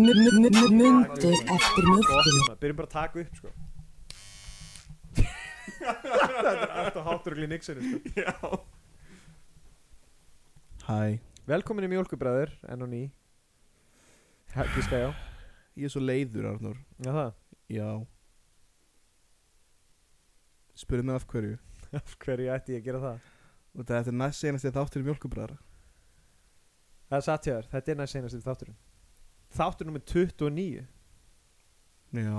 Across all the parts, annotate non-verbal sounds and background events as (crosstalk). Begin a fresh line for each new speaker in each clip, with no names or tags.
Mundur eftir mjölkinu
Gott, byrjum bara að taka (laughs) upp sko Þetta er alltaf háttur í mixinu sko
Já Hæ
Velkomin í Mjölkubræður, enn og ný Gíska já
Ég er svo leiður Arnur
Já það,
Já Spurðu mig af hverju
af hverju ætti ég að gera það
Og þetta er næst senast ég þáttur í mjölkubræðra
Það er satt hjá þér, þetta er næst senast í þátturinn Þáttur nummer 29
Já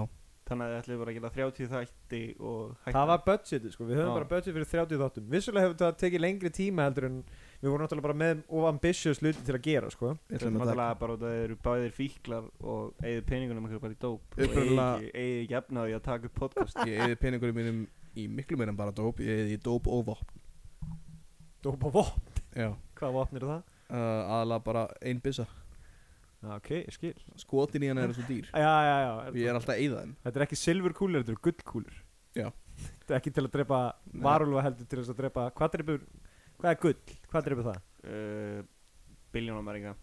Þannig að þið ætlum bara að gera 30 þætti og hætta
Það var budgetið sko, við höfum
Já.
bara budget fyrir 30 þáttum Vissulega hefur það tekið lengri tíma heldur en Við vorum náttúrulega bara með of ambitious luti til að gera sko
Ég
Það er
ætla að taka
náttúrulega bara út að þeir eru bæðir fíklar og eigið peningunum ykkur bara í dóp og eigið
Upprunalega-
ekki, eigið ekki efna á því að taka upp podcast
Ég eði peningurum mínum í miklu meira en bara dóp Ég eði í dóp og vopn
Dópa vopn,
Já
hvað vopn eru það?
uh, Aðalega bara ein byssa
Já, Ok, ég skil
Skotin í hana eru svo dýr
Já, já, já,
Ég er alltaf að eyða þeim
Þetta er ekki silfurkúlur, þetta eru gullkúlur
Já.
Þetta er ekki til að drepa
Nei.
varulva heldur til þess að drepa Hvað drepur, hvað er gull, hvað drepur það?
uh, Biljónamæringa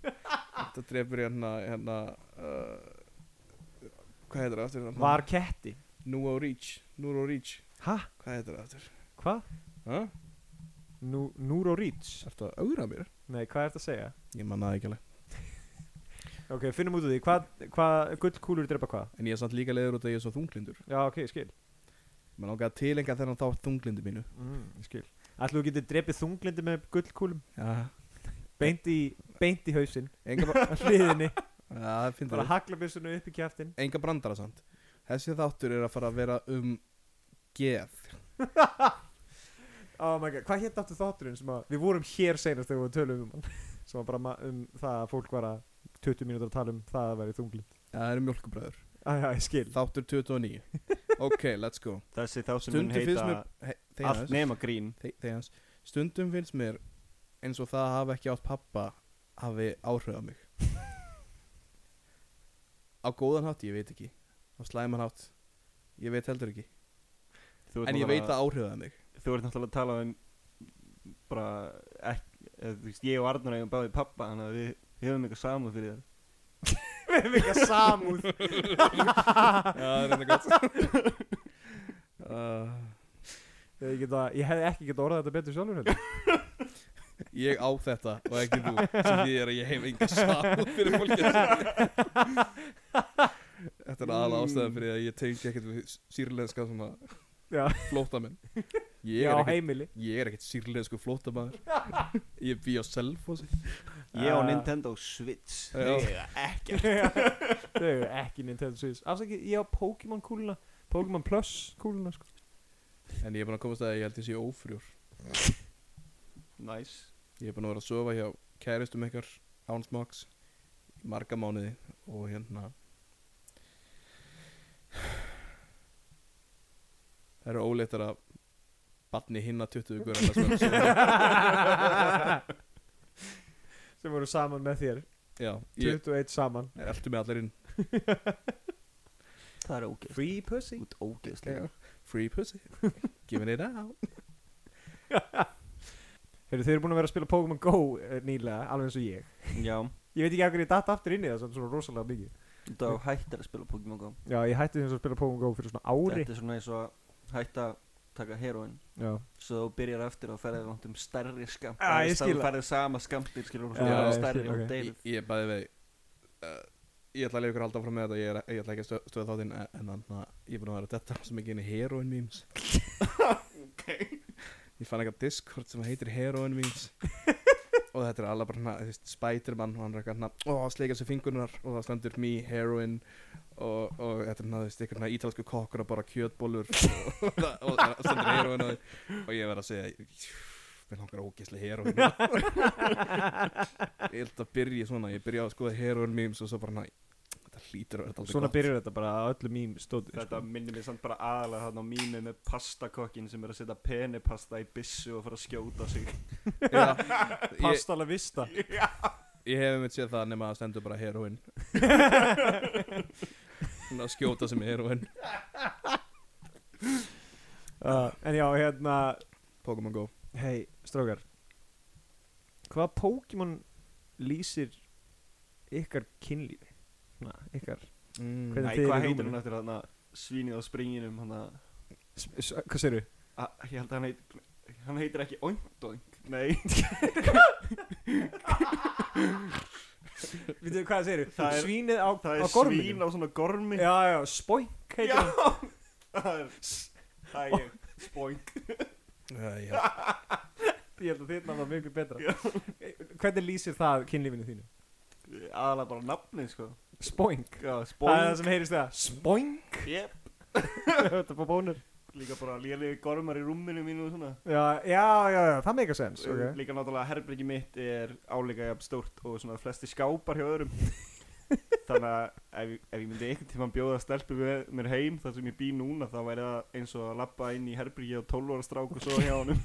Þetta drefur hérna hérna uh, Hvað heitir það aftur? Hérna?
Var ketti
Núa og Reach Núra og Reach
Hæ?
Hvað heitir það aftur?
Hvað?
Hæ?
Nú, Núro Reach?
Þetta að augra mér?
Nei, hvað er þetta að segja?
Ég manna það ekki alveg
Ok, finnum út úr því, hvað, hvað gullkúlur drepa hvað?
En ég er samt líka leiður út að ég er svo þunglindur
Já, ok, ég skil
Mér langaði að tilenga þennan þátt þunglindu mínu
mm, ég Skil Ætlu þú getur drepið þunglindi með gullkúlum
Já
Beint í, beint í hausinn
Enga,
(laughs)
bra
Að hliðinni (laughs)
Já, það finnst
Bara
það
hakla byssunu upp í kjæftin
Enga brandara samt Þessi þáttur er að fara að vera um geð
Oh my god, hvað hétt áttu þátturinn sem að Við vorum hér senast þegar við tölum um hann (laughs) Sem var bara ma- um það að fólk var að 20 mínútur að tala um það að vera í þunglind
Það eru mjölkubröður
Æja, ég skil
Þáttur
(laughs)
29 Ok, let's go
Þessi þá sem mun
Stundum finnst
heita
mér he,
Allt
Þegjans
nema grín
þeg- Þegjans Stundum finnst mér eins og það að hafa ekki átt pappa hafi
(laughs)
áhrif á mig Á góðan hátt, ég veit ekki Á slæman hátt, ég veit heldur ekki
þú ert
En ég veit
náttúrulega-
að áhrifaði mig
Þú ert náttúrulega að tala um bara ekki, eða, þú veist, Ég og Arnur eigum báði pappa Þannig að við, við höfum eitthvað saman fyrir það
Við erum ekki að samúð
Já, það er þetta gott uh,
Ég, geta, ég hefði ekki getað orðað þetta betur sjálfur heldur.
Ég á þetta og ekki þú sem því er að ég hef enga sáð fyrir fólki Þetta er aðal ástæðan fyrir að ég tengi ekkert við sýrlenska svona
Já.
flótamenn ég,
Já,
er ekkert-
heimili
ég er ekkert sýrlensku flótamaður Ég bý á selfósi
Ég og
Ah.
Nintendo Switch
Já.
Ég er ekki
(laughs) Þau eru ekki Nintendo Switch Afsakið, ég á Pokémon kúluna Pokémon Plus kúluna
(laughs)
sko.
En ég er búin að komast að ég held ég sé ófrjór
Næs
Ég er búin að vera að sofa hjá kæristum ykkar án smóks í marga mánuði og hérna Það eru óleittar að batni hinna 20 vikur en það sem er að
(laughs)
sofa.
Sem voru saman með þér
Já, ég
21 saman
eldu mig allir inn
Það er ógeð
Free pussy
Út ógeðslega
Free pussy Giving it out
Heyrðu, þau eru búin að vera að spila Pokémon Go eh, nýlega Alveg eins og ég
Já
Ég veit ekki af hverju ég datt aftur inn í það samt Svona rosalega mikið
Þú er hættir að spila Pokémon GO
Já, ég hætti þess að spila Pokémon Go fyrir svona ári
Þetta er svona eins og að hætta að taka heroin
Já
Svo þú byrjar aftur og ferðið langt um stærri skamt
Ah, ég skil
Þú
það.
ferðið sama skamtir skilur og svo
Já,
ég
verður
skil,
stærri
ok.
og
Ég,
deilið
ég bæði vei uh, Ég ætla að leiða ykkur að halda áfram með þetta Ég, er, ég ætla ekki að stöð, stöða þáttinn En þannig að ég er búin að vera að detta svo mikið inn í heroin memes Ég fann eitthvað Discord sem heitir heroin memes Og þetta er alveg bara hana, þvist, Spiderman og hann er eitthvað hana, Ó, sleikar sér fingurnar og það stendur me, heroin Og, og þetta er hana, þvist, eitthvað hana, ítalsku
(laughs)
kokkur að bara kjötbólur og, og, og það stendur heroin og, og ég verð að segja mér langar ógeðslega heroin ég held að byrja svona ég byrja að skoða heroin memes og svo bara næ þetta hlýtur að vera alltaf
Svona byrjar þetta bara að öllu mím stóð sko,
Þetta minnir mér samt bara aðalega þarna á mínu með pastakokkin sem er að setja penipasta í bissu og fara að skjóta sig
Já, (laughs) ég,
Pastala
(laughs)
vista (laughs)
ég hef einmitt séð það nema að stendur bara heroin svona að skjóta sem heroin
uh, En já, hérna
Pokémon Go
Hei, strákar Hvað Pokémon lýsir ykkar kynlífi? Na, ykkar
mm.
Æ, hvað
Hvernig- þið eru í
heitir
rúminu.
hann eftir þarna svínið á springinum hann að,
S s- Hvað segirðu?
að- ég held að hann heitir, hann heitir ekki Oindoink,
(laughs)
nei,
Vitið, hvað segirðu?
Það er-
Svínið á,
það
á
er
gorminu
svín á svona gormi. (laughs)
Já, já, spoink heitir hann
það er, það er
(laughs)
ég, spoink.
uh, já.
Ég held að þitt nafn var mikið betra Eh, Hvernig lýsir það kynlífinu þínu?
Aðalega bara nafnið, sko.
Spoink
Já,
Það er það
spoink,
sem heyrist það Spoink
jep,
(laughs) Þetta er bara bónur
líka bara lélegi gormar í rúminu mínu og svona.
já, já, já, já, það meika sens okay.
Líka náttúrulega herbyggi mitt er áleika jafn stórt og svona flesti skápar hjá (laughs) öðrum Þannig að ef, ég- ef ég myndi einhvern tímann bjóða stelpu með mér heim þar sem ég bý núna þá væri það eins og að lappa inn í herbyggi á 12 ára strák og svo hjá honum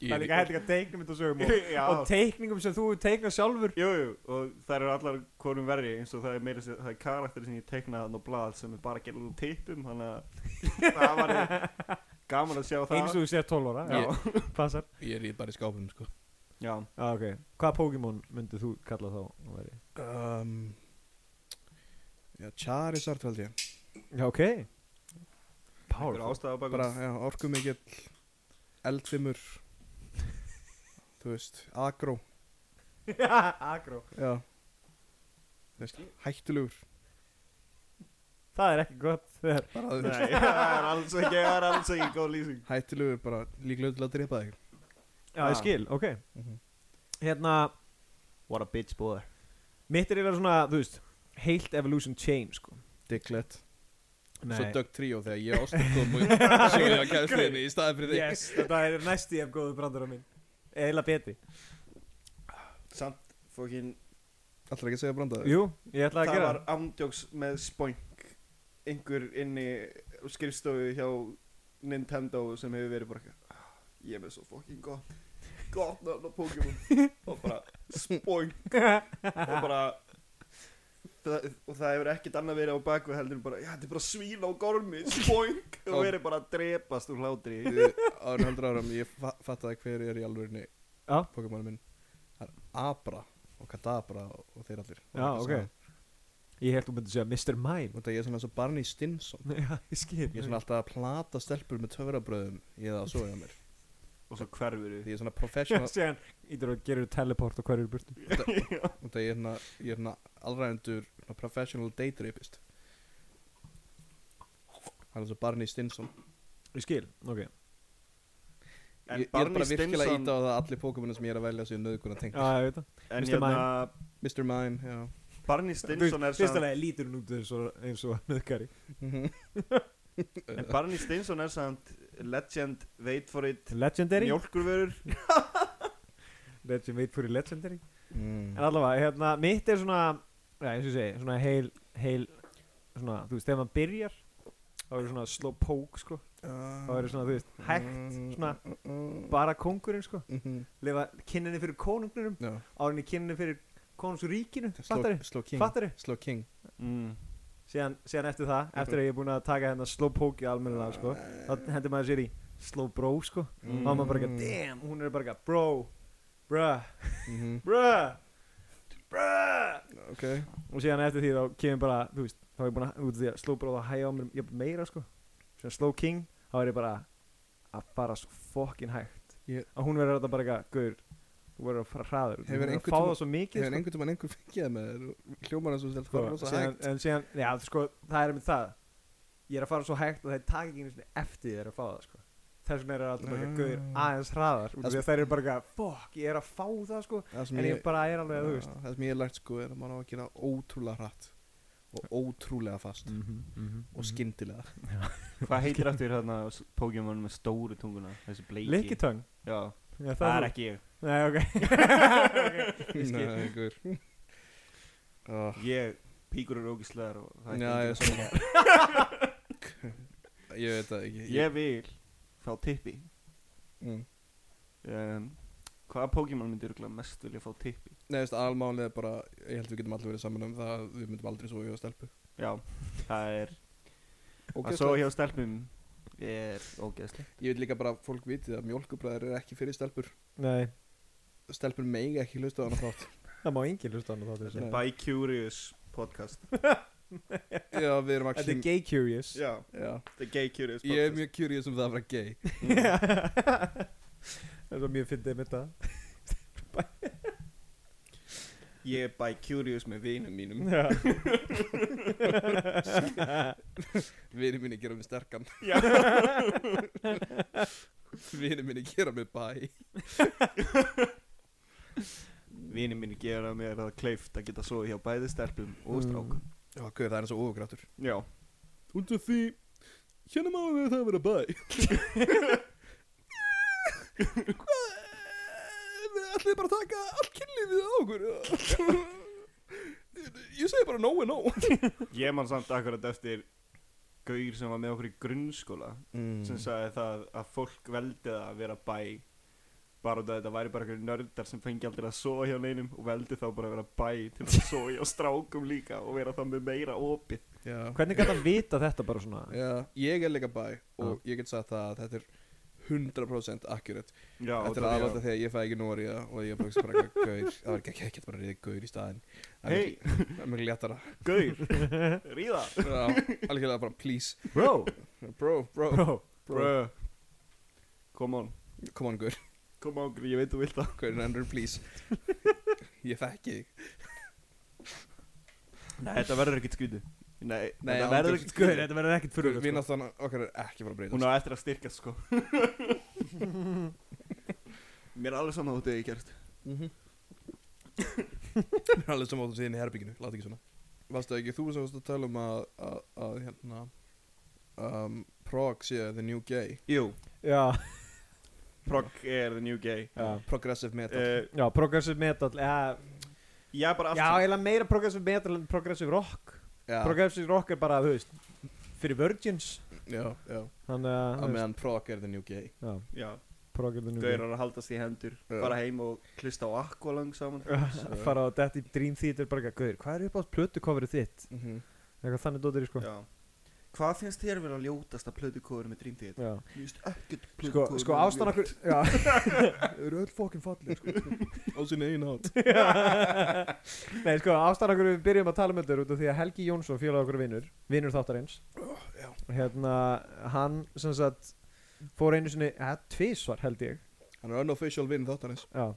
Það er líka hægt að teiknum þetta sögum (laughs) og,
(laughs) Já,
og teikningum sem þú teiknar sjálfur
jú, jú, og það eru allar hvorum verri eins og það er meira sér, það er karakter sem ég teikna þannig á blað sem er bara að gera úr tippum (laughs) Þannig að það var gaman að sjá það
eins og þú sér 12 ára
Já.
Já, passar
ég er í bara í skápum sko
Já,
Já, ok Hvaða Pokémon myndið þú kalla þá að veri?
um, já, Charizard held ég
Já, ok
einhver
Powerful
ástæða á bakvið
bara já, orkumikill eldfimur (laughs) þú veist, agró
(laughs) Agro
já þú veist, hættulegur
Það er ekki gott þegar
bara, þú
(laughs)
veist,
Nei, það er alls ekki, það er alls ekki góð lýsing
hættulegur bara líklega til að drepa þig
Já, ég skil, ok Hérna
What a bitch boy
Mitt er eiginlega svona, þú veist Heilt Evolution Chain, sko
Diglett svo
Nei
Doug Trio þegar ég ástættum
(laughs)
og svo ég var kæðsliðinni í staðin fyrir þig
Yes, þetta er næsti af góðu brandara minn Eila betri
Samt fókin
allra ekki að segja brandaði
Jú, ég ætla að
Það
gera
var ándjóks með spoink einhver inni á skrifstofu hjá Nintendo sem hefur verið bara eitthvað, "Ah, Ég er með svo fokkin gott Gott nafn á Pokémon Og bara spoink Og bara það, Og það hefur ekkert annað verið á baku heldur en bara Já, þetta er bara svín á gormi Spoink Og verið bara að drepast úr hlátri
ára hundra áram ég fa- fattaði hver er í alvörinni
Já.
Pokémon minn það er Abra og Kadabra og þeir allir
Já, ok Ég held þú myndi segja Mr. Mime (laughs)
Þetta ég er svona svo Barney Stinson
Já, ég skil
Ég er svona alltaf að plata stelpur með töfrabröðum Ég það að soga mér
Og svo hverfur
Því ég er svona
Já,
professional
(laughs) síðan Ítur og gerur teleport og hverju er burtu
og Það ég er svona, ég er svona allræðendur svona Professional date rapist Hann er svo Barney Stinson
Ég skil, ok
En
Ég, ég er
Barney
bara virkilega
Stinson-
íta á það að allir Pokémonu sem ég er að velja séu nöðguna tengt
Já, ég veit það
En
Mr. Mime.
hérna
Mr. Mime, já
Barney Stinson er
Fyrsta
samt
lagi lítur hún út eins og, eins og nöðkari
En Barney Stinson er samt legend, wait for it,
Legendary
mjólkurvörur
Legend, veit fyrir Legendary En
mm.
allavega, hérna, mitt er svona Já, eins og ég segi, svona heil, heil Svona, þú veist, þegar maður byrjar Þá er svona slow poke, sko Þá er svona, þú veist, hægt Svona,
Mm-hmm.
bara kongurinn, sko
mm
Lifa kynninni fyrir konungnum
Já,
Árinni kynninni fyrir konungsríkinu
sló,
Fattari,
sló King
fattari
Sló King
mm.
síðan, síðan eftir það, eftir að ég er búin að taka hérna slow poke í almennilega, sko
Ah.
þá hendur maður sér í slow bro, sko
Mm.
þá er maður bara ekki, damn, hún er bara ekki bro, bruh,
Mhm,
bruh bruh
Ok
og síðan eftir því þá kemur bara, þú veist þá er ég búin að, út af því að slow bro þá hægja á mér jafn meira, sko, síðan slow king þá er ég bara að fara svo fokkin hægt,
Ég-
að hún verður þetta bara ekki gaur, þú verður að fara hraður þú
Hefur
verður að
einhvern
fá
tíma-
það svo mikið,
Hefur einhvern tímann einhver fengið það með þér og hljómar hans og stelt
sko,
hvað rosa
síðan,
hægt
en síðan, já, sko, það er með það ég er að fara svo hægt og það er takk ekki einu sinni eftir þér að fá það, sko þess vegna er það alltaf bara ekki gauðir
Ah.
aðeins hraðar út af
Það
því að þær eru bara ekki að, fuck, ég er að fá það, sko
Það sem
en ég
ég
bara er alveg, þú
Já,
veist
Það sem ég hef lært sko er að maður á að gera ótrúlega hratt og ótrúlega fast
Mhm,
og
Mhm. (laughs)
skyndilega
Hvað heitir aftur hérna s- Pokémon með stóru tunguna? Þessi bleiki
Lickitung,
Já,
Já,
það
þú.
er ekki ég
Nei, (laughs) ok
Nei, ykkur oh,
Ég, píkur eru ógislegar og það er
Já,
ekki
ég er svona (laughs) Ég veit það ekki
(laughs) Ég vil fá tippi
mm.
um, Hvaða Pokémon myndir örugglega mest vilja fá tippi?
Nei, þú veist, almálið er bara Ég held við getum allir verið saman um það að Við myndum aldrei svo í að stelpu
Já, það er
okay,
Að svo hjá stelpum er ógeðslega
Ég vil líka bara að fólk viti að mjólkubræður er ekki fyrir stelpur
Nei,
Stelpur megi ekki hlusta á hana þátt
það má engin hlusta annað þáttur
Nei.
þessu.
By Curious podcast
Já, við
Þetta er
erum actually
gay curious (laughs)
Já,
Já,
the gay curious
ég er
podcast
mjög curious um það að vera gay
Það er svo mjög fyndið með þetta
Ég er by curious með vinum mínum
Vinir minni gera mig sterkan
(laughs)
Vinir minni gera mig bæ
Vini minni gera mér það kleift að geta svo hjá bæði stelpum og
Mm.
strákum
Já, guð, það er eins og ofurkraftur
Já,
Út af því Hérna má við það að vera bæ Hvað Við ætlum bara að taka allt kynlífið á okkur Ég segi bara no and no
ég man samt akkurat eftir Gaur sem var með okkur í grunnskóla
Mm.
sem sagði það að fólk veldi það að vera bæ bara út af þetta væri bara einhverjir nördar sem fengi aldrei að sofa hjá neinum og veldi þá bara að vera bæ til að sofa hjá strákum líka og vera þá með meira opið
Já
(laughs) Hvernig gæti að vita þetta bara svona
Já, ég er líka bæ og ég get sagt það að þetta er 100% accurate
Já,
Þetta er aðláta þegar ég fæ ekki nóri og ég bara hugsa bara eitthvað gaur Það var ekki ekkert bara að reyða gaur í staðinn Það er
Hei,
miklu- Það er mjög léttara
gaur, (laughs) ríða
Já, algjörlega bara please
Bro,
Bro, bro,
bro
Brö, come on
come on gaur
Come on, ég veit þú vilt það
Gaurinn endur please Ég þekki þig
Nei, þetta verður ekkert skrítið Nei,
Nei,
þetta
án
verður
gríns.
ekkert
Guð,
skrítið
þetta verður ekkert sko. fyrir
Gaur, Vináttan okkar er ekki bara
Hún
að breytast
á eftir að styrka sko (laughs) Mér er alveg saman út eða ég gerst
Mhm. Mér er alveg saman á þú síðan í herbygginu Láta ekki svona Varstu ekki þú sem varst að tala um að, að, að hérna um, Prog sé the new gay
Jú,
Já,
prog er the new gay
já
Progressive metal
uh,
Já, progressive metal ja,
Ég er bara
Já,
aftur
eiginlega meira progressive metal en progressive rock
Já,
Progressive rock er bara, þú veist Fyrir virgins
já, já
Þannig að,
Að
þú veist,
meðan prog er the new gay
já,
Já,
progressive new
gaurar að haldast í hendur
Já.
Fara heim og hlusta á Aqualung saman
Að (laughs) fara á þetta í Dream Theater bara ekki að gauður Hvað er upp á plötukofrið þitt?
mm -hmm.
Eitthvað þannig dóttir sko
Já Hvað finnst þér vera ljótasta plötukóður með Dream Theater?
Já.
Mér finnst ekkert
Sko,
plötukóður
sko ástæðan okkur Já (laughs) Þau eru öll fokkin fallið sko
Á sín eigin hát
(laughs) Nei, sko, ástæðan okkur við byrjum að tala um þetta er út af því að Helgi Jónsson, félag okkur vinnur Vinnur þáttarins
Oh, já.
Hérna, hann sem sagt Fór einu sinni, ja, tvisvar held ég
Hann er unofficial vinn þáttarins
Já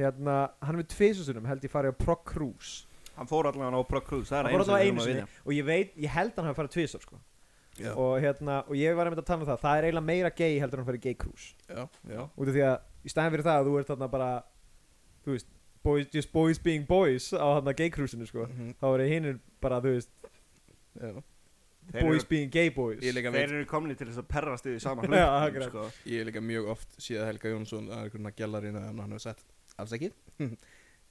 Hérna, hann við tvisasunum held ég farið á Prog Cruise
Hann fór allan á Prog Cruise Það er
Hann fór
einu sem við
allavega einu
erum að
sinni
við
og ég veit, ég held hann hafi farið tvisar sko.
Já.
og hérna, og ég var einmitt að tala um það það er eiginlega meira gay heldur en hann farið gay cruise
Já, já
út af því að í stæðan fyrir það að þú ert þarna bara þú veist, boys, just boys being boys á þarna gay cruisinu sko
Mhm,
þá eru hinnir bara, þú veist,
já.
Þeir
boys
eru-
being gay boys
Ég, er líka
Þeir
veit,
eru komni til þess að perrast yfir (laughs) sama
Já, akkurat.
sko.
ég er líka mjög oft síðan Helga Jónsson að einhvern að gjallarinn að hann hefur sett Alls ekki (laughs)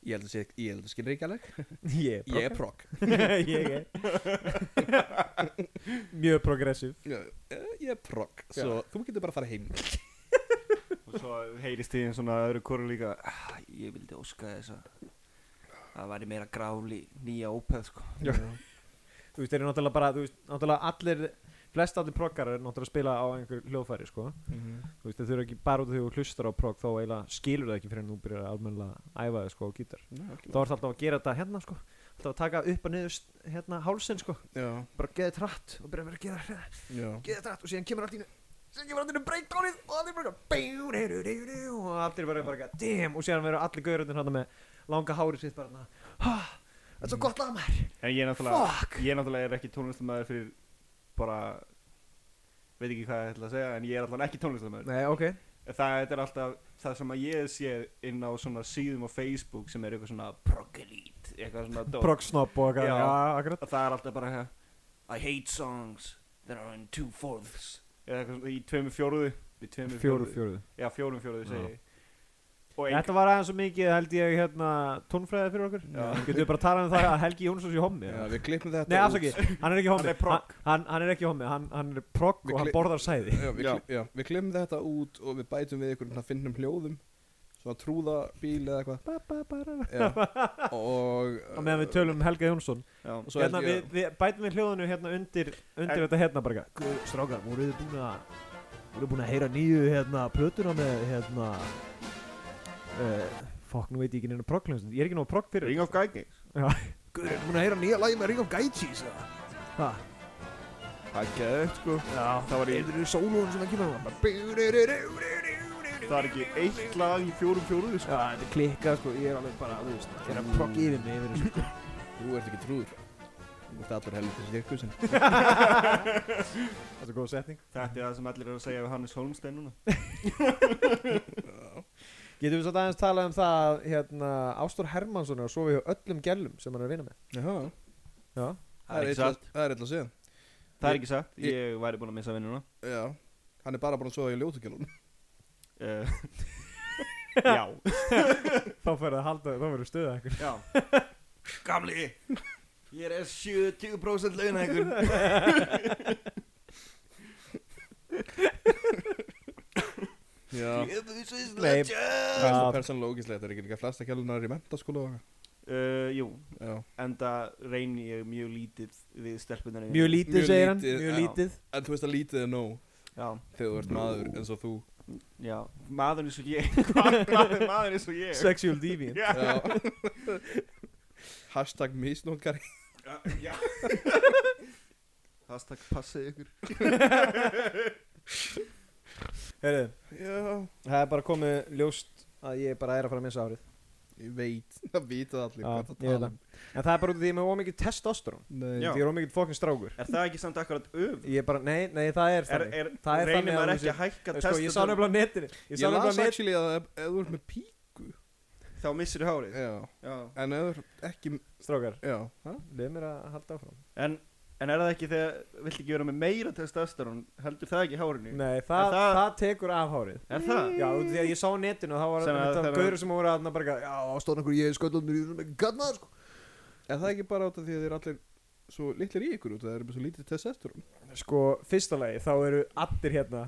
Ég held að sé, ég held að skilja ekki alveg
(laughs) ég
Ég er
er
prog
prog- (laughs) ég er mjög progressiv
Já, eh, Ég er prog Svo þú getur bara að fara heim
Og svo heyrist því svona öðru kóru líka "Ah, Ég vildi óska þess að Það væri meira grál í nýja ópeð sko.
Já. þú veist, þeir eru náttúrulega bara, þú veist, náttúrulega allir flest allir proggarar er náttúrulega að spila á einhver hljóðfæri sko þú veist, þau eru ekki bara út af því að þú hlustar á prog þá eiginlega skilur það ekki fyrir en þú byrjar almennilega að æfa þig sko á gítar
Já, ekki
þá ertu alltaf að gera þetta hérna sko alltaf að taka upp og niður st- hérna hálsinn sko
bara. Já,
bara geðið trætt og byrja að vera að gera þetta
já
geðið trætt og síðan kemur allt í einu- síðan kemur allt í breakdownið og allir bara bjú, ru, ru, ru, ru, og allir bara bara eitthvað, damn og síðan verður allir gaurundir hérna með langa hárið sitt bara hérna "Ha, þetta er svo gott lag maður
En ég náttúrulega
fuck
Ég náttúrulega er ekki tónlistamæður fyrir bara Veit ekki hvað ég ætla að segja En ég er alltaf ekki tónlistamæður
nei ok
Það þetta er alltaf það sem að ég sé inn á svona síðum á Facebook sem er eitthvað svona progelít eitthvað svona dót.
prog snob og eitthvað
Já.
já akkurat
og það er alltaf bara I hate songs that are in two fourths eða eitthvað svona í tveimur fjóruðu í tveimur
fjóruð fjóruð
Já, fjórum fjóruðu
Já.
segi ég og einhver
Þetta var aðeins svo mikið, held ég, hérna, tónfræði fyrir okkur.
Já.
Getum við bara talað um það að Helgi Jónsson sé hommi?
Já,
eða?
við klippum þetta
Nei,
út.
afsaki, hann er ekki hommi.
Hann er progg.
Hann- Hann, hann er ekki hommi, hann, hann er progg
Við
og hann
kli-
borðar sæði.
já, við,
Já.
kli- já, við klippum þetta út og við bætum við ykkur svona finnum hljóðum svona trúða bíl eða eitthvað
Ba, ba, ba, ra, ra.
Já.
(laughs)
og
Á meðan við tölum um Helga Jónsson.
Já,
og
Hérna,
held
við, við bætum við hljóðinu hérna undir, undir
En-
þetta hérna bara eitthvað. Strákar, voruð þið búin að voruð þið búin að heyra nýju hérna plötuna með hérna uh, fokk, nú veit ég ekki neina proggljóðsund ég er ekki nóg progg fyrir
Ring of Gaggy
Guður, erum búin að heyra nýja lagi með Ring of Gaijis eða? Ha?
Það geði upp sko
Já,
Það var í
Þeir eru sólóðun sem ekki með það
Það er ekki eitt lag í fjórum fjóruðu
Já, þetta er klikkað sko, ég er alveg bara, þú veist Þeir eru að progg yfir mig yfir þessu
(laughs)
sko.
þú ert ekki trúður þú ert allur helviti sirkusin
Það er góð setning
Þetta er það sem allir eru að segja við Hannes Holmstein núna
Getum við svo aðeins talað um það að hérna, Ástór Hermansson er að sofa hjá öllum gellum sem hann er að vinna með
já,
Já,
það er
ekki
illa-
satt.
það er eitthvað að segja
Það er ekki sagt,
Ég-
ég væri búin að missa vinnuna
já, hann er bara búin að sofa í ljótugjálun
uh, Já
(laughs) þá fyrir að halda, þá fyrir stöða ekkur
Já Gamli Ég er 70% launahækur
já,
Jöfus is
Nei.
legend
það
Já.
er persónulega ógislegt það er ekki líka flesta kjálunar í mentaskóla og-
uh, Jú,
já,
enda reyni ég mjög lítið við stelpunar
(laughs) Mjög lítið,
Mjög
segir hann,
lítið,
mjög
já.
lítið
en þú veist að lítið er nóg
Já,
þegar þú ert maður eins og þú
já, maður eins og ég (laughs) Hvað hvað er maður eins og ég?
Sexual deviant
Já,
Já. (laughs) hashtag misnótkari
já, (laughs) já.
Hashtag passið ykkur
Heyrðu,
já,
það er bara komið ljóst að ég bara er að fara að missa árið
ég veit það vita allir
Já,
hvað
ég
það
veit
tala um.
það En það er bara út af því að ég er með ómikið testosterón
Nei,
Já.
Því ég er ómikið fokkin strákur
Er það ekki samt akkurat öf?
Ég er bara, nei, nei, það er
Er,
þannig
er,
Það er
reynir
þannig að
maður
þú
ekki að hækka
Sko, ég sá
testosterón?
nefnilega á netinu Ég sá
Ég
nefnilega á
las
sko.
netinu
actually að ef, ef þú ert með píku
Þá missir hárið
Já
Já
En ef þú ert ekki
Strákar,
Já ha?
leið mér að halda áfram
En, en er það ekki þegar, vilt ekki vera með meira testosterón, heldur það ekki í hárinu?
Nei, það,
það-
það tekur af hárið
Er það?
Já, út af því að ég sá á netinu og þá var
Sem að
þetta
það var-
gaurur sem voru að bara eitthvað, Já, stóðan okkur, ég er sköldunum, ég er svona gætnaður sko
Er það ekki bara út af því að þeir allir Svo litlir í ykkur út af Það eru með svo lítið testosterón
Sko, fyrsta lagi, þá eru allir hérna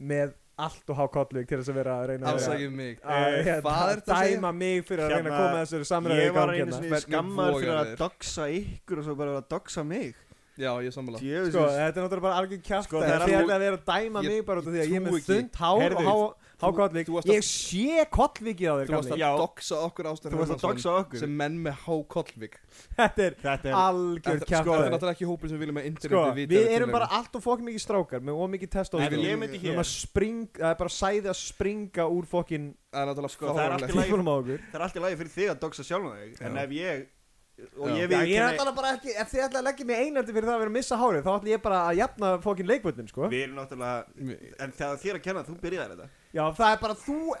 með allt og há kollvík til þess að vera að reyna að vera
Afsakið mig
að
Eh,
hérna,
Hvað er það að segja?
dæma mig fyrir að reyna að
Hérna,
koma þessari samræðu
Ég
í
var
gang
einu
hérna.
sinni
Hvernig
skammaður fyrir
vogar
að
þér?
doxa ykkur og svo bara að doxa mig.
Já, ég sammála
Djöfis.
Sko, þetta er náttúrulega bara algjör kjátt
Sko,
sko,
það
Það
er
er alveg
alveg-
að vera að dæma
Ég
mig bara út af því að ég er
trúi
með
ekki.
þund hár
Heyrðu,
og há
þú-
kollvík
þú varst að-
Ég sé kollvíkið á þér,
Þú varst
kalli
að
Já.
doxa okkur ástar
Þú varst að doxa okkur.
Sem menn með há kollvik
(laughs) Þetta er
Þetta er,
algjör
Sko,
kjátt
það er náttúrulega ekki hópin sem við viljum að
Sko,
interneti vita
við
af
erum
tilheyrum.
bara allt og fokk mikið strákar með ómikið test á
ef ég myndi hér,
Það er bara sæði að springa úr fokkin
Það er náttúrulega
Sko, það er allt í
fáránlegt.
lagi.
tífunum á okkur
það er allt í lagi fyrir þig að doxa sjálf þig, en
Já.
ef ég, og
Já.
ég
Já,
við
ég er alltaf bara ekki, ef þið ætla að leggja mig einandi fyrir það að vera að missa hárið, þá ætla ég bara að jafna fókin leikvöldin, sko.
Við erum náttúrulega,
Mér-
en það er þér að kenna, þú byrjaði þetta.
Já, það er bara þú,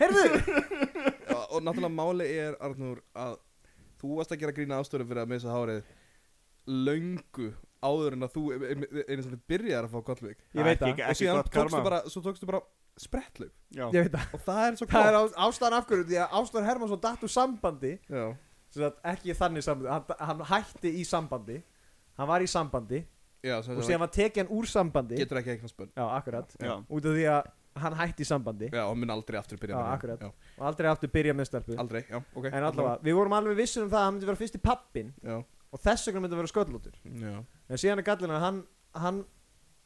heyrðu,
Já, og náttúrulega máli er Arnur að þú varst að gera grína ástöru fyrir að missa hárið löngu áður en að þú e- einu sinni byrjar að fá kollvík
(laughs) Ég veit það.
Ekki,
og
ekki
síðan
gott
tókstu
karma.
bara, svo tókstu bara sprettlaug
Já.
ég veit það,
og það er svo
það er
gott
á, ástæðan af hverju, því að Ástór Hermansson datt úr sambandi,
já,
sem sagt ekki þannig sambandi, hann, hann hætti í sambandi, hann var í sambandi
já sem
og
sagt,
síðan var tekið hann úr sambandi,
getur ekki eignast bönn
já, akkurat,
Já.
út af því að hann hætti í sambandi
já, og mun aldrei aftur byrja
Já,
með það.
akkurat.
já,
og aldrei aftur byrja með stelpu.
aldrei, já, ok
En allavega, við vorum alveg vissin um það að hann myndi vera fyrst í pappin
já,
og þess vegna myndi hann vera sköllótur.
já,
En síðan er gallin að hann, hann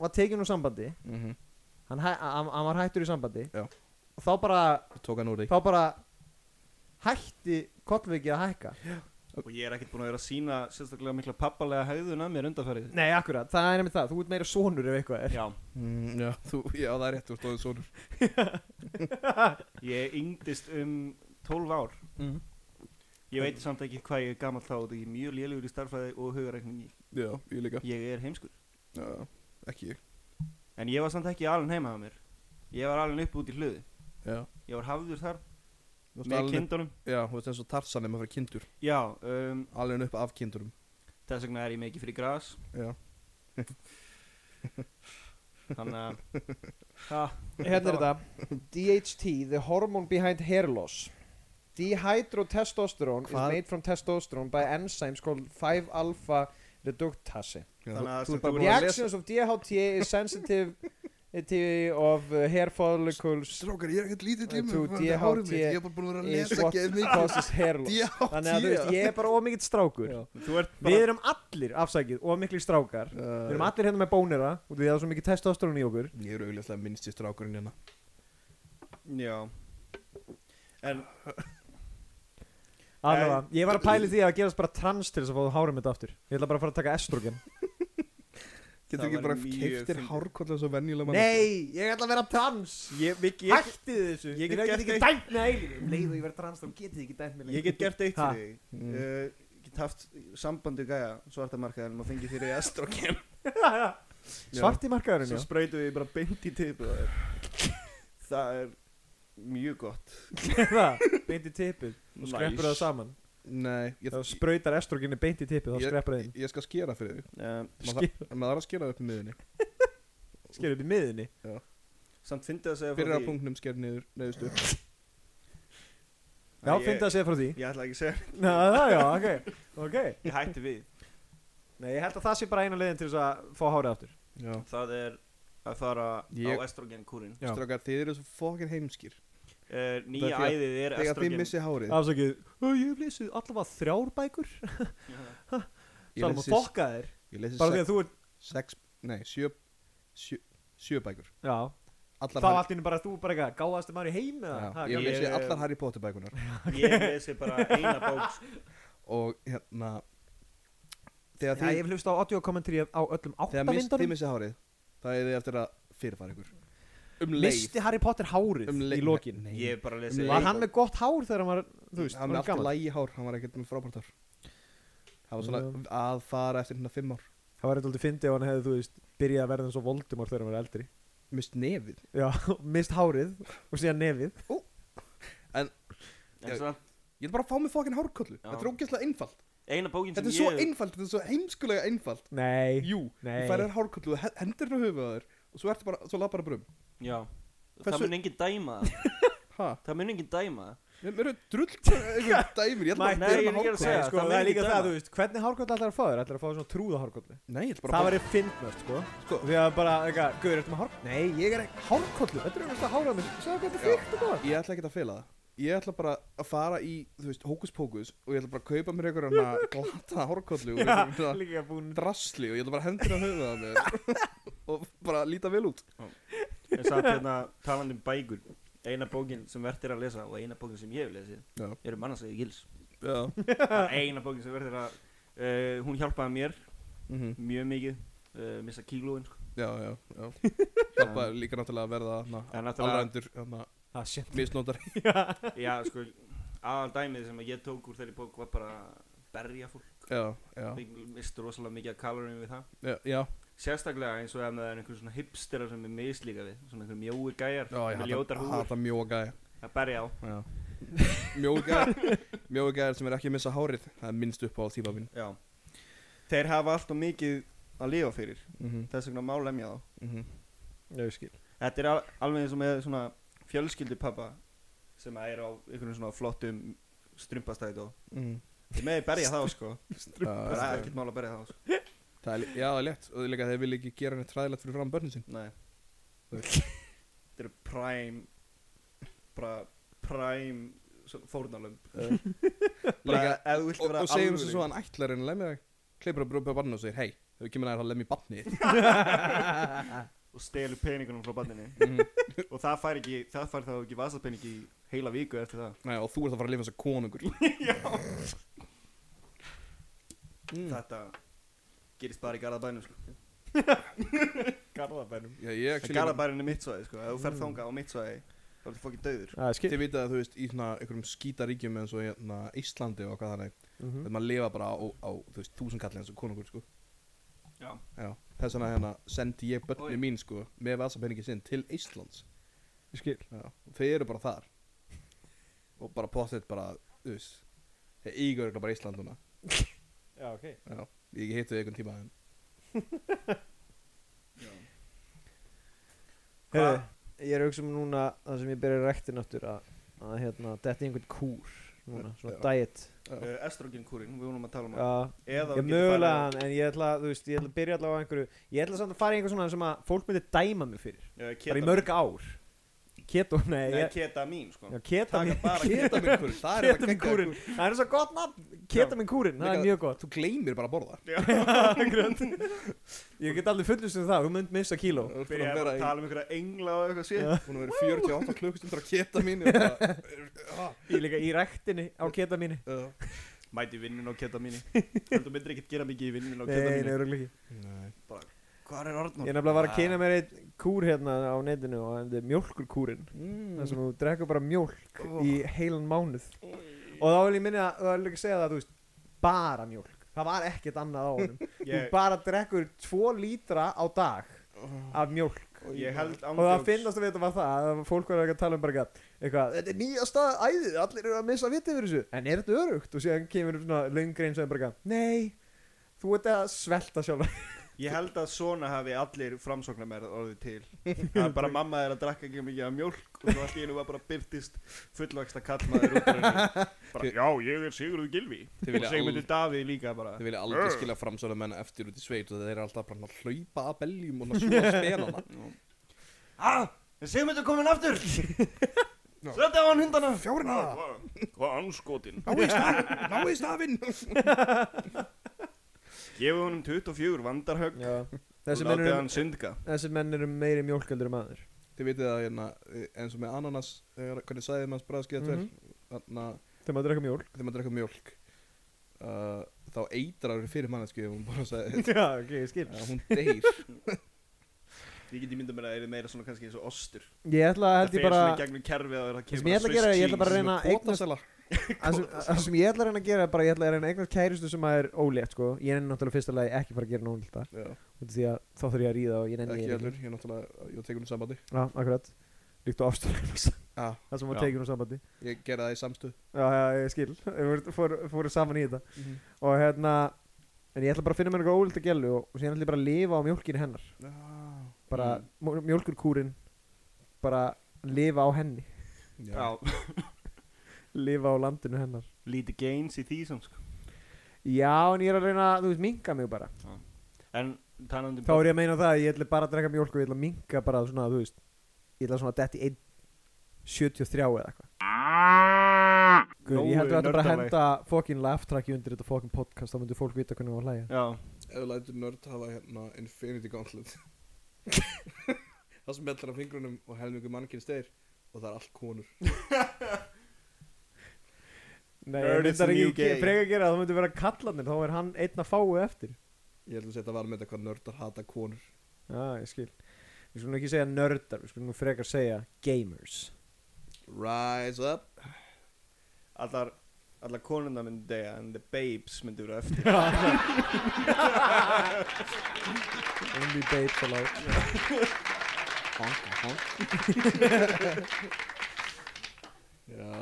var tekinn úr sambandi
mm
hann, hæ- hann, hann var hættur í sambandi
Já.
og þá bara,
tók hann úr því
þá bara hætti kollviki að hækka
Og ég er ekkert búin að vera að sína sérstaklega mikla pappalega hegðuna mér undanfærið.
nei, akkurat, það er nefnir það, þú ert meira sonur ef eitthvað er
Já,
mm, já, þú, já, það er rétt, þú stóðið sonur
ég yngdist um 12 ár.
mm.
Ég veit samt ekki hvað ég er gammal þá og ég er mjög lélugur í starfræði og hugarækningi.
já, ég líka
Ég er heimskur.
já, ekki ég
En ég var samt ekki alveg heima á mér. Ég var alveg upp út í hlöðu.
já,
Ég var hafður þar
Þú varst
með
alin-
kindunum.
já, þú veist eins og tarsan ef maður fyrir kindur
Já, um,
alveg upp af kindurum
þess vegna er ég mikið fyrir gras.
já
Þannig
(laughs)
að
Ha,
Hérna er þetta DHT, the hormone behind hair loss Dehydrotestosterone
Hvað?
is made from testosterone by enzymes called 5-alpha reductase
Þannig að
þú
sem þú
er bara
The
búin að lesa
actions of DHT is sensitive of uh, hair follicles
Strókar, ég er ekkert lítið um
Uh,
tíma
to
það er hárið mitt,
DHT
Ég er bara búin að vera að
is
lesa
what
ekki mikið
causes hair loss
DHT
Þannig að þú veist, ég er bara ómikið strákur
þú ert
Við erum allir, afsakið, ómikið strákar Við erum allir hérna með bónera út af því að það er svo mikið testosterón í okkur
Ég er auðvitað minnst í strákurinn hérna
Já En
Allavega, ég var að pæli því að gerast bara trans til þess að fá hárið mitt aftur Ég ætla bara að fara að taka estrogen
Getur ekki
var
bara
mjög
keiftir
fyndið.
hárkollu svo venjulega
Nei, ég ætla að vera trans
ég, Viki, ég,
Hættið þessu Ég
Ég
get
get
ekki
eitt-
dæmt með eilinu Um leið og ég vera trans þá getið þið ekki dæmt með
ég get gert eitt
Ha.
fyrir
(laughs)
þig
Mm.
uh, Get haft sambandi gæja svartamarkaðinum og fengið þér í estrogen
Svart í markaðurinn,
Svo
já
spreytum við bara beint í tipu á þér Það er mjög gott
Það, beint í tippið Og skreppur það saman
Nei, ég,
Þá sprautar estroginni beint í tippið, þá
Ég-
skreppur það inn
ég skal skera fyrir þig
Eh,
um,
Maður þa- maður þarf að skera upp í miðunni
Skerðu upp í miðinni
Samt fyndið að segja frá
Fyrir að
því-
punktnum sker niður, neðustu
Nei,
Já,
ég-
fyndi að segja frá því
(laughs)
Ég ætla ekki að segja
Já, það, já, ok, ok
Ég hætti við
Nei, ég held að það sé bara eina leiðin til þess að fá hárið aftur
Já
Það er að fara
Ég-
á estrogen kúrin
Já.
Strákar, þið eru svo fokkin heimskir
uh, Nýja
Það er því að-
æðið er
Þegar þið
estrogen
missi hárið
Afsakið, "Ó, ég hef lesið allavega þrjár bækur
Ég
Salma,
lesi-
fokka þér
Ég lesi
Bara því að
sex,
þú ert,
sex, nei, sjö, sjö, sjö bækur
já
Allar
Þá
Harry-
allt í einu bara þú bara eitthvað gáðastu maður í heim eða
Já,
Ha,
Ég
ég-
lesi allar Harry Potter bækunar
Ég lesi bara eina bók sko.
og hérna þegar
Já, ég
þið,
hef hlust á audiokommentari á öllum
þegar mist, þið
áttamindunum
missi hárið það er þið eftir að fyrirfara ykkur um leið
Misti Harry Potter hárið
um
í lokin
(laughs) nei,
Ég bara lesi
Var hann með gott hár þegar hann var, þú veist,
hann
hann
var
var
alltaf
gaman
lægi hár, hann var ekkert með frábært hár það var svona
Já.
að fara eftir hérna fimm ár
Það var eitthvað fyndið ef hann hefði, þú veist, byrjað að verða eins og Voldemort þegar hann var eldri
mist nefið
Já, (laughs) mist hárið og síðan nefið
En samt,
ég vil bara fá mig fokkin hárkollu,
Já.
þetta er ógeðslega einfalt
Eina bókin
þetta
sem
er svo
ég
einfalt, þetta er svo heimskulega einfalt
Nei,
jú, þú
Nei.
færir hárkollu, þú he- hendir hérna höfuð að þér og svo ertu bara, svo lappar bara um. brum
Já
Hversu-
Það mun enginn dæma það
ha,
Það mun enginn dæma það
mér eru drull
(laughs)
einhvern dæmir, ég ætla bara
Nei,
að
ég er
bera með
ekki að
hárkollu
segja.
Nei, sko,
það
það
mun
er líka
ekki
það,
dæma.
þú veist, hvernig hárkollu ætlar að fá þér? Ætlar að fá þér svona trúða hárkollu?
nei, ég ætla bara
Það
að
væri fyndnast, sko.
Sko.
Því að bara, eitthvað, guður, ertu með hár... Nei, ég er ekki hárkollu, þetta er einhversta hárað minn. Sæðu hvað þetta
Já.
er fyrkt og góð.
Ég ætla ekki að fela það Ég ætla bara að fara í, þú veist, hókus pókus Og ég ætla bara að kaupa mér einhver hana
(laughs)
glata hórkollu Og einhver svona
Líka búin...
drasli Og ég ætla bara að hendur að höfða það mér (laughs) Og bara líta vel út
En samt hérna talandi um bækur Eina bókin sem verður að lesa og eina bókin sem ég hef lesið
Já.
eru mannarsæði gils
Já
Það er Eina bókin sem verður að uh, Hún hjálpaði mér mjög mikið uh, Missa kílóin sko.
Mhm. Já, já, já Hjálpa er líka náttúrulega að verða hana
En náttúrulega
Allrændur, hana,
Það sé.
misnótar
Já sko Aðal dæmið sem ég tók úr þeirri bók var bara að berja fólk
Já, já,
Ég misti rosalega mikið að kaloríum við það
já, já
Sérstaklega eins og ef það er einhver svona hipsterar sem er mislíka við Svona einhver mjói gæjar
Já, ég
með
hata,
ljótar húfur
hata mjóga
að berja á
Já (laughs) Mjóga Mjóga sem er ekki að missa hárið Það er minnst upp á tíma mín
Já Þeir hafa alltaf mikið að lifa fyrir
mm
Mhm,
-hmm.
Þess vegna má lemja þá
Nau, skil.
Þetta er al alveg eins og með svona fjölskyldupappa Sem að er á einhvern svona flottum strumpastæði og Þið meði berja
(laughs)
þá sko Það er ekkert mál að berja þá sko
Það er, já, það er létt og líka þeir vilja ekki gera henni træðilegt fyrir fram börnin sín
Nei Þetta eru prime Bara prime svona fórnarlömb Bara
Líka-
ef þú vilt
Eh, og,
vera
og segjum þessu
alvöru-
svo að hann ætlar henni að lemja þig kleipur að brúpa barninu og segir hei, þau kemur nær að lemja barnið
(laughs)
og stelur peningunum frá
(laughs)
bandinni
þitt."
og það fær ekki, það fær þá ekki vasapening í heila viku eftir það
Nei, og þú ert að fara að lifa eins og
(laughs)
konungur Já
Þetta gerist bara í Garðabænum sko
Garðabænum.
Já,
En
ég actually Mm. bara-
Garðabærin er mitt svæði sko Ef þú ferð þangað á mitt svæði Þá ertu fokkin döður
Það er skil.
Þið vitað að þú veist í svona einhverjum skítaríkjum eins og í hérna, Íslandi og hvað þannig
Mhm.
þegar maður lifa bara á, á þú veist, þúsundkalli eins og konungur sko
Já.
Já, þess vegna hérna sendi ég
Oj.
börnin mín sko með vasapenningi sinn til Íslands
Ég skil.
Já, þau eru bara þar og bara pottet bara, þú veist þeir ígur ekki bara Ísland núna
Já, ok.
Já, ég hitti þau einhvern tíma en
Heyrðu, Ég er að hugsa um núna það sem ég byrja rektin aftur að, að hérna, þetta er einhvern kúr núna, svona
Já.
diet
uh, estrogenkúrin, við vorum að tala um það
Já,
eða
ég
þú getur
mögulega
farið
hann en ég ætla, þú veist, ég ætla að byrja allavega á einhverju ég ætla samt að fara í einhver svona sem að fólk myndi dæma mig fyrir
að-
bara í
ketamín.
mörg ár Keto, nei,
Nei,
ég,
ketamín sko (laughs)
já, keto
Taka bara ketamín
Ketaminkúrin, það er þetta
Ketaminkúrin.
geggjað.
Það er svo gott nafn, ketamin kúrin, það er
Líka-
mjög gott
Þú gleymir bara að borða
(laughs) Ég get alveg fullust um það, þú mynd missa kíló
Þú ert búin
Byrja
að
að
vera í
tala um einhverja engla og eitthvað sér
Búin að vera í 48 klukkustundur að keta mín og
(laughs)
bara, ah,
Ég líka í rektinni á ketamini
uh,
Mæti vinnun á
(laughs)
ketamíni Þú myndir ekkert gera mikið í vinnun á
Nei, nei,
ketamíni
örugglega ekki
Nei
Hvað er
Ég
Arnór? Ah,
er nefnilega að fara að kynna mér eitt kúr hérna á netinu og það er mjólkurkúrin
Mm.
þar sem þú drekkur bara mjólk í heilan mánuð og þá vil ég minna þá vil ég líka segja það að þú veist bara mjólk, það var ekkert annað á (laughs) honum þú
Ég,
bara drekkur tvo lítra á dag af mjólk
ég held
og það
ángjóks
finnast að vita var það að fólk var ekki að tala um bara eitthvað, eitthvað þetta er nýjasta æðið, allir eru að missa vitið fyrir þessu en er þetta örugt? og síðan kemur svona löngrein sem er bara eitthvað, nei þú ert að svelta sjálf
Ég held að svona hafi allir framsóknarmerð orðið
(laughs)
til að bara mamma er að drakka ekki mikið af mjólk og svo allt í einu var bara byrtist fullvægsta kallmaður út úr henni. bara já, ég er Sigurður Gilvi
Þið
og
vilja
Sigmundur
aldrei,
Davíð líka bara
þið vilja aldrei skilja framsölu menna eftir út í sveit og þeir eru alltaf bara að hlaupa að beljum
(laughs)
og svona spenana
Ah, en Sigmundur komin
(laughs)
aftur Sett á hann hundana Fjórna Hvað anskotin
Ná í stafinn
gefið honum 24 vandarhögg
(laughs) þessi
og
menn,
látið
eru,
hann syndga
þessi menn eru meiri mjólkaldur en maður
Þið vitið að hérna, eins og með ananas þegar- hvernig sæðið maður bræðskið að tver þannig að
Mhm. þegar maður drekka mjólk
þegar maður drekka mjólk uh, þá eitrar fyrir mannesku ef hún bara sagði
(laughs) já, ok, ég skil
að hún deyr
ég get í mynda mér að það er meira svona kannski eins og ostur
ég ætla að held
það
ég
fer
bara
svona í gegnum kerfið og það
Það sem
kemur
ég ætla að gera, er ég ætla (laughs) bara að reyna að eignast
Bótasela
Það sem-
sko.
það sem ég ætla að reyna að gera er bara, ég ætla að reyna að eignast kæristu sem að er ólétt sko Ég nenni náttúrulega fyrsta lagi ekki bara að gera nónlita Út af því að þá þarf ég að ríða og ég nenni
ekki
ég
allur, ég er náttúrulega, ég tekur hún sambandi
Já, akkurat Líkt á ástæðum (laughs) Það
ah,
sem var
Já.
tekið úr sambandi
ég gera það í samstuð
Já, já, ég skil Við vorum- fór- Fóru saman í þetta Og hérna En ég ætla bara að finna mér eitthvað ólétt að gælu og, og síðan ætla ég bara að lifa á mjólkinu hennar Bara mm. mjólkurkúrin Bara lifa á henni Ah.
já,
Lifa á landinu hennar
lítið gains í því samt sko.
Já, en ég er að reyna, þú veist, minga mig bara
en talandi um
Þá er ég að meina það að ég ætla bara að drekka mjólk og ég ætla að minka bara svona, þú veist Ég ætla svona að detti 1.73 eða eitthvað Guð,
Nógu
ég heldur að þetta bara að
nördalegt.
henda fokkin laugh tracki undir þetta fokkin podcast þá myndir fólk vita hvernig það var að hlæja
já,
ef þú lætur nörd hafa hérna Infinity (laughs) Gauntlet það sem mellar á fingrunum og helmingu mannkinn steyr og það er allt konur
Nei,
Nerd
það
is the
myndar
new
ekki
gay.
freka að gera það, þá myndir vera kallanir, þá er hann einn að fáu eftir
ég held að setja að vara með þetta hvað nördar hata konur
Já, ég skil Við skulum ekki segja nördar, við skulum nú frekar segja gamers
rise up
allar allar konuna myndi degja en the babes myndi vera eftir
Only babes allowed
honk, honk já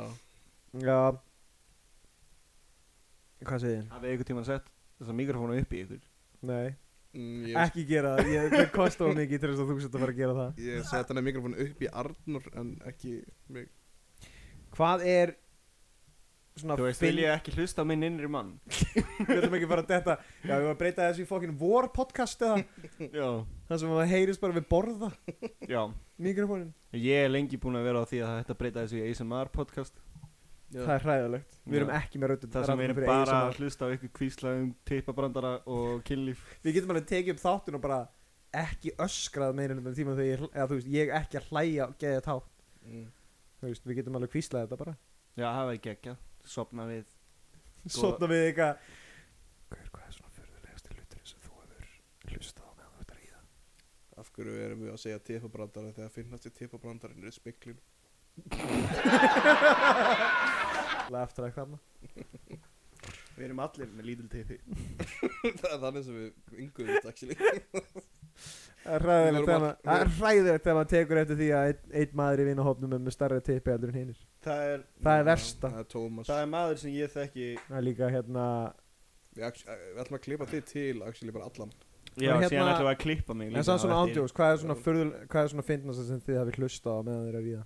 Já Hvað segir þið?
(laughs) hafið ykkur tíma sett þessa mikrofónu upp í ykkur
Nei
mm, ég,
ekki gera það, ég, það kosti of mikið til þess að þú setja að fara að gera það
ég setja hann að mikrofónu upp í Arnur en ekki mig
hvað er svona
þú veist,
finn-
vil ég ekki hlusta á minn innri mann
við ætlum ekki bara að detta já, við varum að breyta þessu í fokkin vor podcast eða
já,
það sem að heyrist bara við borða
já
mikrofónin,
ég er lengi búin að vera á því að þetta breyta þessu í ASMR podcast
það er hræðilegt við erum
Já.
ekki með röddum
það sem við erum bara að hlusta á ykkur kvíslaðum tippabrandara og kynlíf
við getum alveg tekið upp þáttun og bara ekki öskrað meira en tíma þegar ég, eða, þú veist, ég ekki að hlæja og geða tátt
mm.
Þú veist, við getum alveg kvíslað þetta bara
já, það var ekki ekki sopna við Sko-
svona við eitthvað
af hverju erum við að segja tippabrandara þegar finnast í tippabrandarinn er spiklin
laugh track þarna
við erum allir með lítil tippi
(laughs) það er þannig sem við ynguðum þetta actually
Það er
Við
hræðilegt
vorum
þegar
all-
maður- það er hræðilegt þegar maður tekur eftir því að einn ein maður í vinahopnum er með starra tippi heldur en hinnir.
það er,
Það er versta.
það er Tómas
það er maður sem ég þekki
Það er líka hérna,
við, actu- við ætlum að klippa þig til actually bara allan
Já,
En
síðan
hérna-
ætlum við að klippa mig
En
líka
það er svona sko.
á eftir.
ándjóðs, hvað er svona fyrðul, hvað er svona fyndnast sem þið hafi hlustað á meðan þið er að ríða?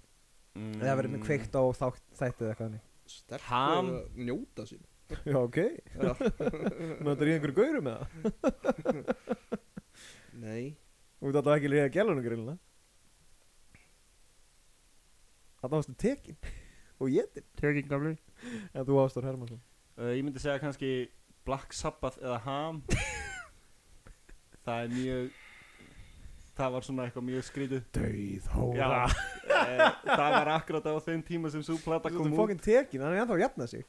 Mm.
Eða verið með kveikt á þátt, þættið eitthvað hannig
Stelpur
Ham.
að njóta sín
Já, ok (laughs) Nú þetta ríða einhverju gaurum með það
Nei
Þú veit alltaf ekki ríða gælunum grillina Þarna varstu tekin og jetin
Tekin gamli
En þú ástór Hermansson
uh, Ég myndi segja kannski Black Sabbath eða
(laughs)
Ham Það er mjög Það var svona eitthvað mjög skrítið
Dauð
Já
hóra
eh, Það var akkurat á þeim tíma sem svo plata
Þú
kom
ert
út
fokkin tekin, hann er ennþá að jafna sig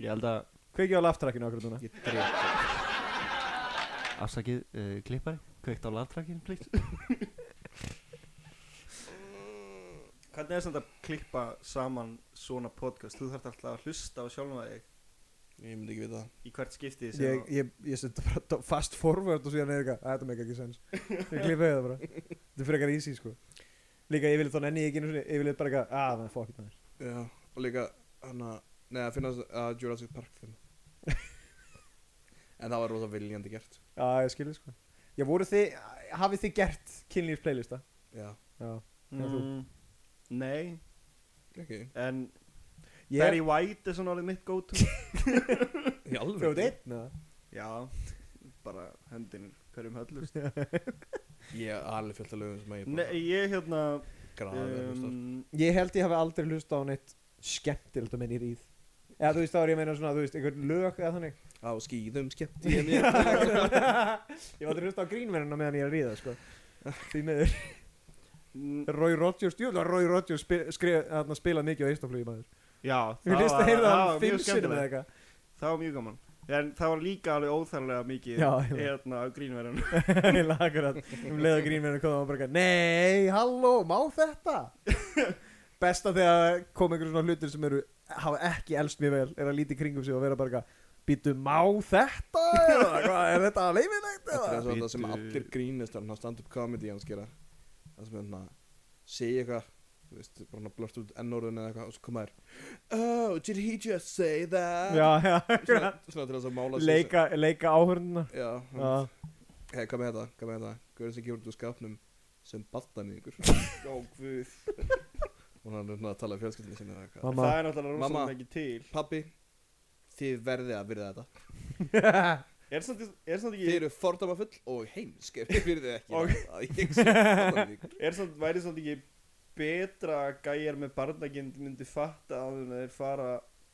Ég held að
Kveikið á laftrakkinu akkur núna
Ég dref
Afsakið uh, klippari Kveikt á laftrakkin, please Mm, Hvernig er þetta að klippa saman svona podcast? Þú þarft alltaf að hlusta á sjálfum að þig
Ég myndi ekki við það
í hvert skipti sem
Ég, ég, ég setja bara to- fast forward og síðan er eitthvað, "Æ, þetta meikar ekki sens
(laughs)
Ég klipaði það bara Þetta er frekar easy sko Líka ég vil þá nenni ég ekki einu sinni, ég vil bara eitthvað, "Ah, að það er fokkin maður
Já Og líka hann að Nei að finna að Jurassic Park (laughs) film En það var rosa viljandi gert
Já, ég skilji sko Já, voru þið, hafið þið gert kynlýrs playlista?
Já
Já Já, þú.
mm, Nei,
Ekki
en
Ég
Barry White er svona alveg mitt
(laughs)
go-to
Í alveg
Þú veit einn eða?
Já, bara höndin hverjum höllust
Ég er alveg fjöld að lögum sem að ég bara
Nei, ég hérna
Grafið um,
um,
Ég held ég hafi aldrei hlusta á neitt skemmtilegt að minni í ríð Eða þú veist, þá er ég að meina svona, þú veist, einhvern lög eða þannig
Á skýðum
(laughs)
skemmt
ég hef
(laughs)
aldrei hlusta á grínverðina meðan ég er að ríða sko. því meður
mm,
Roy Rodgers, jú, Roy Rodgers spil, skrif, hann spila mikið á eistaflugi maður
Já,
við lýst að heyrða
það var
hann
mjög
fimm sinni með
skemmtilegt.
eitthvað (laughs)
Það var mjög gaman En það var líka alveg óþarlega mikið
Já, já.
Hérna á grínverðan
ég lagar að um leið og grínverðina kom og bara eitthvað, nei, halló, má þetta (laughs) besta þegar kom einhver svona hlutir sem eru hafa ekki elst mjög vel, er að líti kringum sig og vera bara eitthvað, býtu, má þetta (laughs) eða hvað, er þetta leifilegt
Þetta
eða
er svo þetta sem
Bíddu.
allir um, grínist Þannig að stand-up comedy hans gera Það sem er hann að segja eitthvað Þú veist, bara hann að blörta út ennóruðin eða eitthvað Og svo koma þær Oh, did he just say that?
já, já,
Svona,
akkurat.
svona til þess að mála sig-
leika, leika áhörnuna
Já, já.
já
Hei, hvað með þetta? Hvað með þetta? Guðurinn sem kemur út úr skápnum sem battaníðingur
Ó, guð
og hann er svona að tala um fjölskyldinu sinni eða eitthvað.
Mamma,
Það er náttúrulega
Mamma.
rosalega mikið til
Pabbi, þið verðið að virða þetta.
Er samt- er samt
Þið
ekki
eru fordamafull og heimsk ef þið virðið ekki
Og-
það að ég sé battaníðingur.
Er samt, væri samt ekki betra að gæjar með barnagind myndi fatta áður en þeir fara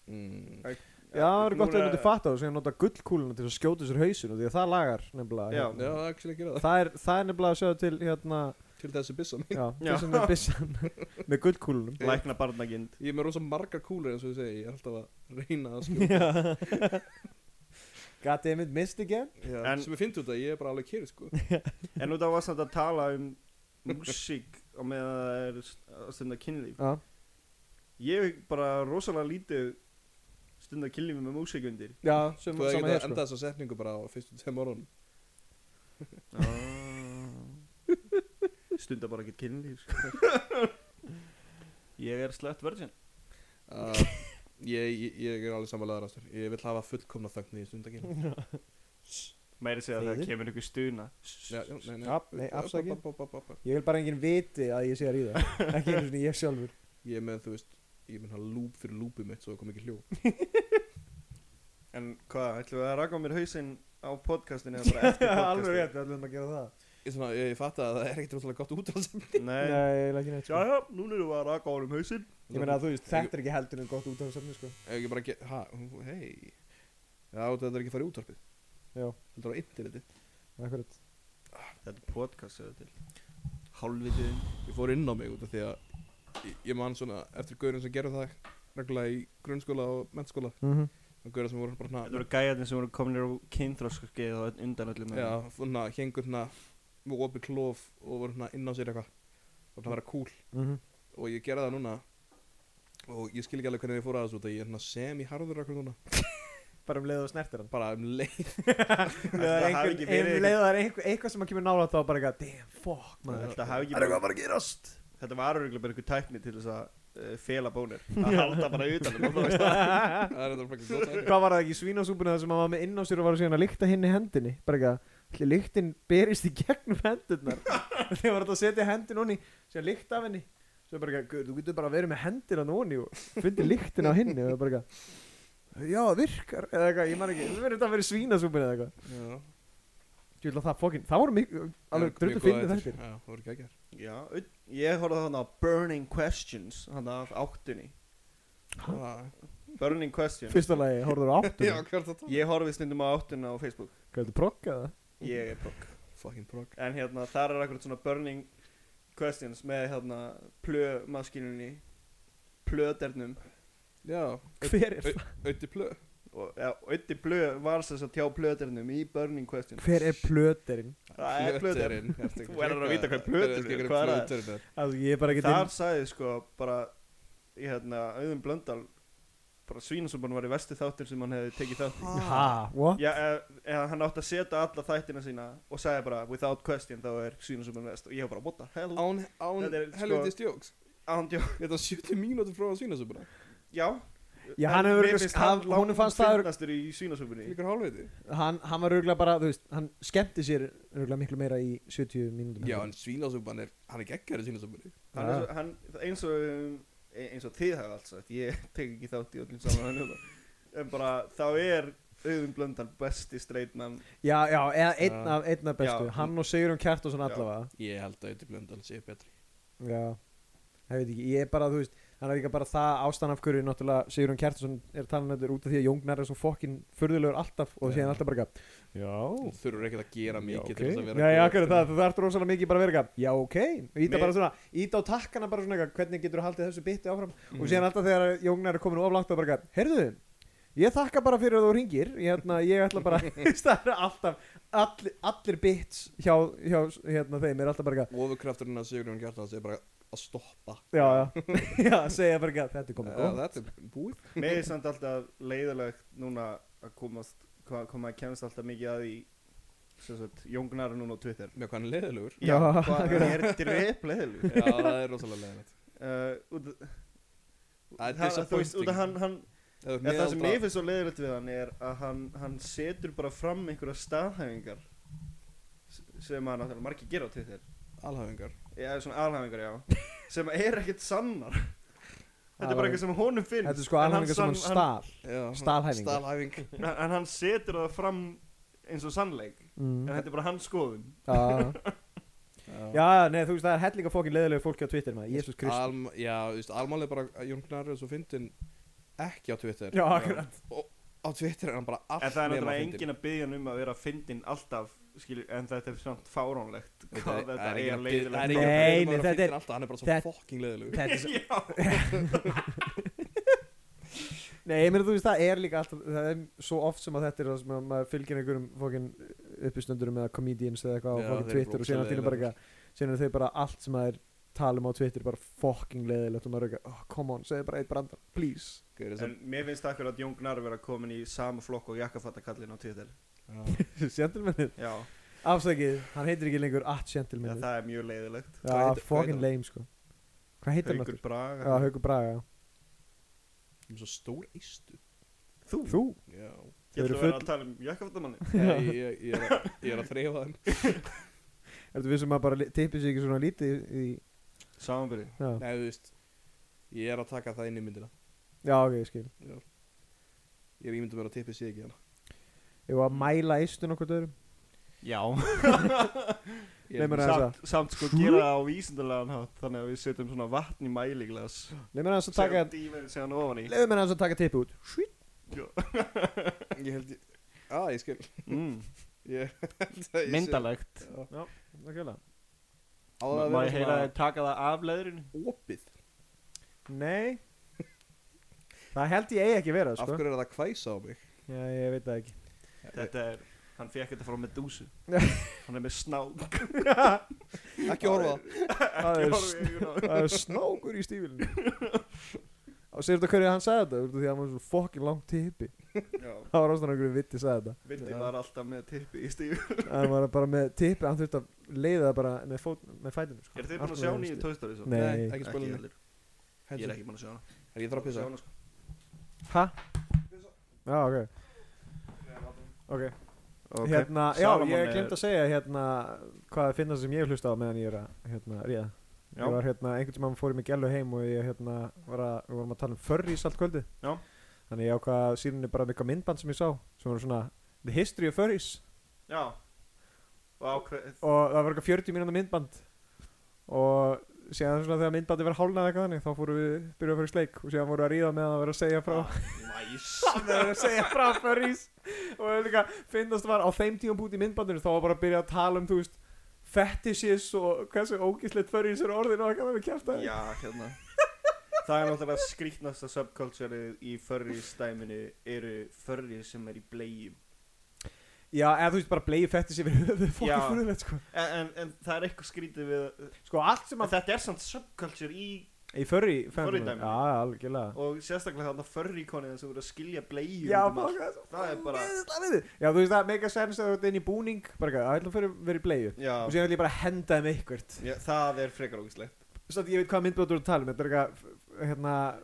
Mm.
já, það er gott að
Núna-
þau myndi fatta og segja nota gullkúluna til að skjóta sér hausinu því að það lagar nefnilega
Já.
Já, það er ekki að gera
hérna.
það.
það, er, það er nefnilega að sjá til hérna,
Til þessu byssa mín.
já,
Já.
þessum með byssan (laughs) með
(laughs)
gullkúlunum
Lækna barnagind
Ég er með rosa margar kúlur eins og ég segi, ég er alltaf að reyna að
(laughs)
skjóta.
Já. gat ég mynd mist again
Já,
En-
sem ég fyndi út að ég er bara alveg kýri sko.
En út af að samt að tala um músík og með að það er st- að stunda kynlíf
já,
Ég hef bara rosalega lítið stunda kynlíf með músík undir
já sem,
Þú hefði
sama
getað
hér
endað
sko
þessa setningu bara á fyrstu tveim orðunum.
Ah. (laughs) Stunda bara ekki kynlíf sko. Ég er slött virgin
Uh, ég, ég, ég er alveg samanlegaðar ástur. Ég vil hafa fullkomna þögn í stundakinn.
Meiri segja að það kemur einhver stuna
Já, já, nei, nei.
Af- nei, afsakið.
Upp, upp, upp, upp, upp.
ég vil bara enginn viti að ég sé að ríða ekki einu sinni ég sjálfur
Ég er með, þú veist, ég mun að lúp fyrir lúpið mitt svo það kom ekki hljóð.
En hvað, ætlum við að raka á mér hausinn á podcastinu eða bara eftir
(laughs)
sko.
alveg
podcastinu
rétt, alveg að gera það
Ég, svona, ég, ég fatt að það er ekkert rosalega gott útrásefni.
Nei,
Nei, eiginlega ekki neitt,
já
sko.
já, núna erum við að raka á honum hausinn
ég meina að þú veist, þetta er ekki heldur en gott út af þessum sko.
Ef ekki bara að gera, hæ, hei. Já, þetta er ekki að fara í útvarpið.
Já.
Þetta er á interneti.
Akkurat.
Þetta er podcast eða til Hálfvitiðin
Ég fór inn á mig út af því að ég, ég man svona eftir gaurin sem gerðu það reglulega í grunnskóla og mennskóla.
Mhm.
Það gaurin sem voru bara
Þetta
hana,
voru gæjarnir sem voru kominir á kynþróskurskeið og undan öllum
já,
öðrum.
svona, hengur hana með opið klóf og voru hana inn á sér eitthvað. Og það var að kúl.
Mhm.
og ég gera það núna og ég skil ekki alveg hvernig ég fór að þessu út að ég er hérna semi-harður akkur núna
bara um leið og snertir hann
bara um leið
um leið og það er
hafi
einhver-
ekki verið
um leið og það er einhver- eitthvað sem að kemur nála þá bara eitthvað, damn, fuck maður
Þetta hafi ekki
er eitthvað bara að gerast
Þetta var öruglega bara einhver tækni til þess að uh, felabónir að halda bara utan um það, veist það.
Það er þetta fækkið gott
(laughs) Hvað var það ekki í svínasúpuna það sem hann var með inn á sér og var síðan að lykta hinn í hendinni bara ekki að allir lyktin berist í gegnum hendurnar þegar var þetta að setja hendin onni síðan lykt af henni svo bara ekki að þú getur bara að vera með hendina onni og fundi lyktin á henni og það bara ekki að já það virkar eða eitthvað ég man ekki við verðum þetta að vera í svínasúpuna eða eitthvað
Já.
Ég vil að það fokkin það voru mikið alveg drullu fyndið þættir
Já, það voru ekki ekki
já, au- ég horfði þannig á Burning Questions hann af áttunni Burning Questions
fyrsta lagi horfður á áttum
Já, hvert þetta?
ég horfði stundum á áttuna á Facebook
hvað er þetta proggaða
ég er prokk
Fucking prog
en hérna þar er akkurat svona Burning Questions með hérna plömaskínunni plöðernum
Já,
hver er
auðvitað plö
og ja, Ötti Blöð var þess að tjá plöðernum í Burning Questions
hver er plöterinn
Það er plöðern Þú verður að vita hvað plötur er, hvað er það?
plötur er
alveg ég er bara ekki
Þar sagði sko bara í hérna auðum blöndal bara Svínasumban var í vestu þáttur sem hann hefði tekið þátt í.
ha what
Já, e- eða hann átti að setja alla þættina sína og sagði bara without question þá er Svínasumban vest og ég var bara what the hell
Án,
Þetta er,
án
sko-
helviti stjóks
ándjó
Þetta er 70 mínútur frá svínasupuna
Já
Já, hann
Mér
hefur örugglega-
finnst
hann- honum fannst það örugglega-
fyndnastur í Svínasumbunni
Líkur hálfviti
hann, hann var örgulega bara, þú veist, hann skemmti sér örgulega miklu meira í 70 mínútum
Já, en svínasupan er, hann er geggjari svínasunni
hann, er svo- hann eins og um, eins og þið hafa alls sagt, ég (laughs) tek ekki þátt í öllum saman en bara þá er auðum blöndal besti streitmann
já, já, eða einn
Já.
af, einn af bestu
Já.
hann og Sigurjón
Já.
Kjartason allavega
Ég held að auðvitað blöndal sé betri
já, ég veit ekki, ég er bara, þú veist hann er líka bara það ástæðan af hverju náttúrulega Sigurjón Kjartason er talan þetta út af því að Jóngnar er svo fokkin furðulegur alltaf og
Já.
síðan alltaf bara eitthvað,
Þú
já,
þurfur ekkert að gera
já,
mikið
ok
til þess að vera
já, já,
góð.
akkur það, þú þarft rosalega mikið bara að vera eitthvað já, ok, íta
Mér-
bara svona, íta á takkana bara svona eitthvað, hvernig getur þú haldið þessu bytti áfram og
Mhm.
síðan alltaf þegar Jóngnar er komin oflátt og bara eitthvað, heyrðu ég þakka bara fyrir að þú ringir ég, hérna, ég ætla bara, (laughs) það er alltaf all, allir bits hjá, hjá hérna, þeim er alltaf bara eitthvað
Ofurkrafturinn að Sigurjón Gjartans er bara að stoppa
já, (laughs) já, já, segja bara eitthvað þetta er komið
Já,
góð
Þetta er búið
með er samt alltaf leiðilegt núna að komast hva, koma að kemst alltaf mikið að í sem sagt, jóngnar núna á Twitter
Með hvað hann er leðilegur
Já.
hvað hann er dreip leiðileg
(laughs) Já, það er rosalega leðilegt
uh,
Það er
þú veist, út
disappointing.
að hann, hann
Eða
eða það sem
meðaldra-
mér finnst svo leiðilegt við hann er að hann, hann setur bara fram einhverja staðhæfingar s- sem hann náttúrulega margir gera á Twitter
alhæfingar
Já, svona alhæfingar,
(laughs)
já Sem er ekkert sannar Þetta er
Það
bara
var-
eitthvað sem honum finnst
þetta er sko
en
alhæfingar sem hann
sann-
stál
Já.
Stalhæfingar.
Stalhæfing
hann- En hann setur það fram eins og sannleik En
mm.
þetta er bara hans skoðun
(laughs) já,
Já,
já, nei, þú veist það er hellinga fókin leðilegu fólki á Twitter maður, Jésús Krist
Alm, Já, þú veist, almáli bara að Jón Gnarr er svo fyndin ekki á Twitter
já, akkurat
Á Twitter er hann bara allt
En það er
nema
náttúrulega
fyndinn.
engin að byggja hann um að vera fyndin alltaf skilur, En þetta er samt fáránlegt
Þetta
Hvað þetta
er
er
engin að bið- það er
leiðilegt
engin að
(laughs)
Nei, nei, þetta
biðja um að vera fyndinn
er-
alltaf, Hann er bara svo
þetta-
fucking leðilegur
Þetta er svo-
Já,
Nei, ég meina þú veist það er líka alltaf það er svo oft sem að þetta er það sem að maður fylgir einhverjum fókin uppistundurum eða comedians eða eitthvað
Já,
á fókin
þeir eru
Twitter og síðan
rosalega
allt í einu bara eitthvað síðan er þau bara allt sem að er talum á Twitter bara fokking leðilegt og maður er eitthvað oh, come on, segðu bara eitt brandar,
(laughs)
please
Gaur, þess
En
að-
mér finnst akkur að Jón Gnar vera komin í sama flokk og jakkafattakallin á Twitter
Já.
Gentlemanið,
Já,
afsakið, hann heitir ekki lengur at
ja,
Gentlemanið,
það er mjög leiðilegt
já,
hvað heitir- hvað heitir
fokkin
hann?
lame sko Hvað heitir hann
Haukur
aftur? Já,
Braga
Haukur Braga, já
Hann er Svo stór eistu
Þú,
Þú,
Já
(laughs)
ég ætla
þau eru
að vera
full-
að tala um jakkafattamanni
Nei, Ég ég er að- ég er að þreifa hann
ertu við sem að bara tippið sér ekki svona lítið í, í
Samanbyrði
já.
Nei, þú veist Ég er að taka það inn í myndina
já, ok, ég skil
Ég er ímyndum að vera að tippi sig ekki hérna. (laughs) hann
Ég var að mæla eistun okkur öðrum (laughs)
Já
Nei,
Ég er
meina-
með-
Samt-
samt, samt sko gera það á vísindarlegan hátt þannig að við setjum svona vatn í mæliglas
Leif mér aðeins að taka
dýmir sig hann ofan í
Leif mér aðeins að taka tippi út Svít
Ég held ég Á, ég skil
mm.
Ég (laughs) held að ég sé-
Myndalegt
Já.
Nákvæmlega
Á það að
Má ég heyra
vera
þið taka það af leðrinu?
svona opið
Nei Það held ég eigi ekki vera
Af
sko.
hverju er það að hvæsa á mig?
Já, ég veit það ekki
þetta er hann fekk þetta frá (laughs) Medusa
Já.
hann er með snák
Ekki horfa
Það er,
horfa í augun á-
það er snákur í stífilinu Og segir þetta hverju hann sagði þetta Út af Því að hann var svona fokkin langt tippi
Já,
Það var ástæðan okkur vitti sagði
Vindi var alltaf með tippi í stíu
þetta Hann var bara með tippi Hann þurfti að leiða það bara með, fót, með fætinu sko.
Er þið búin að
Allt með
sjá
öðrum
nýju
stíl.
Toy Story svo?
Nei,
ekki spólum
allir
Ég
Ég er ekki búin að sjá hana
Ég þarf að pissa
hana sko
Hæ? Já, ok Ok,
Ok.
hérna, já,
Salomon
ég
er-
glemt að segja hérna hvað finna sem ég hlusta á meðan ég er að hérna, ríða
Já.
Ég var hérna, einhvern tímann fór ég með gælu heim og ég hérna var að, við vorum að tala um furries allt kvöldi
Já.
Þannig ég ákvað síðan bara með eitthvað myndband sem ég sá sem var svona The History of Furries
Já Og ákveð
og það var eitthvað 40 mínúna myndband og síðan svona þegar myndbandi var hálnað eitthvað þannig þá fórum við byrjuð að fara í sleik og síðan voru að ríða meðan að vera að segja frá (laughs)
Nice
það er að segja frá furries og líka finnast var á þeim tíum búti í myndbandinu þá var bara að byrja að tala um þú veist fetishes og hversu ógíslegt furries eru orðin og eitthvað við kæft að
Já, hérna Það er náttúrulega skrýtnasta subcultureið í furries dæminu eru furries sem er í bleigjum
já eða þú veist bara blei fetishes yfir höfuð
Já.
fólki fyrir þetta sko
en, en, en það er eitthvað skrýtið við
sko allt sem
en Þetta er samt subculture í
í furry
Furry
family.
dæmi.
já já, algjörlega
og sérstaklega þarna furrykonið sem voru að skilja bleigjum
já
um allt.
bara
Það er bara
já þú veist það make a sense að þú ert inn í búning bara eitthvað það ætlum fyrir verið bleið og
Já,
síðan vil ég bara henda þeim eitthvað
já það er frekar ógislegt
svo ég veit hvað myndband þú ert að tala um þetta er eitthvað hérna
uh,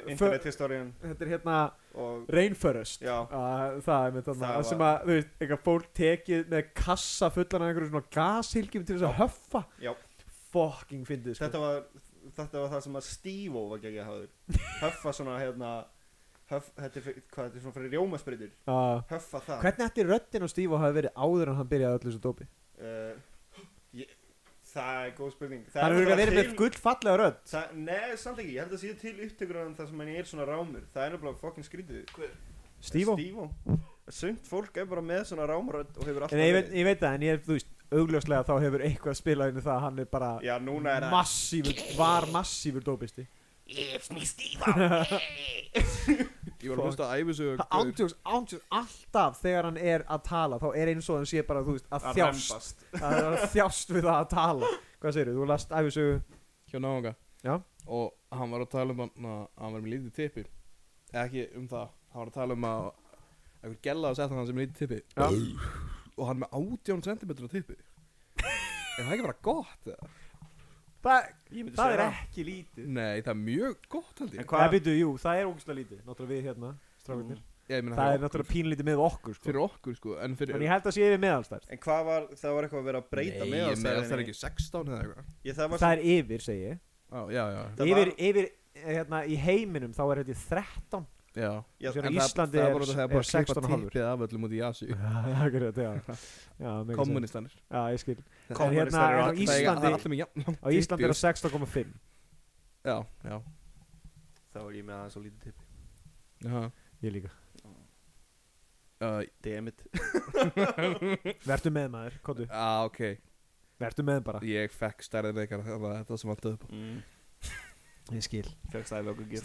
Fur-
Internethistorien
þetta er hérna
og
Rainforest
Já.
Að, það er með
Það
þarna það
var-
sem að, þú veist, eitthvað fólk tekið með kassa fullan af einhverju svona gashylgjum til þess að höffa
Já.
fucking fyndið sko.
þetta var, þetta var það sem að Steve-O var geggjað
(laughs)
hafður höffa svona hérna höf, þetta er, fyrir- hvað þetta er svona fyrir rjómasprytur
uh,
höffa það
hvernig ætti röddin á Steve hafi verið áður en hann byrjaði öllu þessu dópi
uh, ég, það er góð spurning það
hann hefur
náttúrulega
verið með gull fallega rödd
það, nei, samt ekki, ég held að síðan til upptökur en það sem hann er svona rámur það er náttúrulega fokkin skrítið
Steve
Steve-O sumt fólk er bara með svona rámrödd og hefur alltaf
en ég veit,
verið.
ég veit það en ég, þú veist, augljóslega þá hefur eitthvað spilað inn í það að hann er bara
já, núna er það
massífur, var massífur dópisti
Ég var að hlusta á æfisögu
það ántjóks, ántjóks, alltaf þegar hann er að tala þá er eins og hann sé bara, þú veist, að
að
(laughs) þjást
rembast
að það er þjást við það að tala hvað segir þú, þú last æfisögu
hjá náunga
Já.
og hann var að tala um hann að hann var með lítið tippi eða ekki um það hann var að tala um að einhver gella að setja hann sem lítið tippi
Já.
og hann er með 18 cm á
(laughs)
tippi er það ekki bara gott eða?
það,
Ég myndi
það
segja
er
það.
ekki lítið
nei það er mjög gott held
En
ég
það
hvað
byrju, jú, það er ógustlega lítið náttúrulega við hérna, strákunir
Já, ég meina,
það er
fyrir okkur-
náttúrulega pínlítið með okkur sko.
Mm. fyrir okkur sko en fyrir
en ég held að sé yfir meðalstærð
En hvað var, það var eitthvað að vera að breyta
nei
með
ég meina það er ekki 16 eða eitthvað
Ég, það var
það er yfir, segi ég
Á, já já
Það
yfir,
var-
yfir, eh, hérna, í heiminum þá er þetta í 13
já
Já,
Sér
En
í
það-
Íslandi
það
er,
voru þegar
er,
bara að klippa
16 og halvur
tippið af öllum út í Asi
akkurat, já, já, mikið sens.
kommunistanir
já, ég skil
Kom-
en hérna,
Kommunistar eru
en á
allir-
Það eiga- það
Íslandi
er allir með jafn langt
á Íslandi
tippi,
er það 16,5
já já
Þá var ég með aðeins og lítið tippi
já
ég líka
Uh,
Dammit
vertu með maður, kóttu,
ah, ok,
vertu með bara
ég fekk stærðin ykkar þannig að þetta sem hann töðu upp á.
(laughs) mm.
ég skil
Fjöxt aðeins okkur gif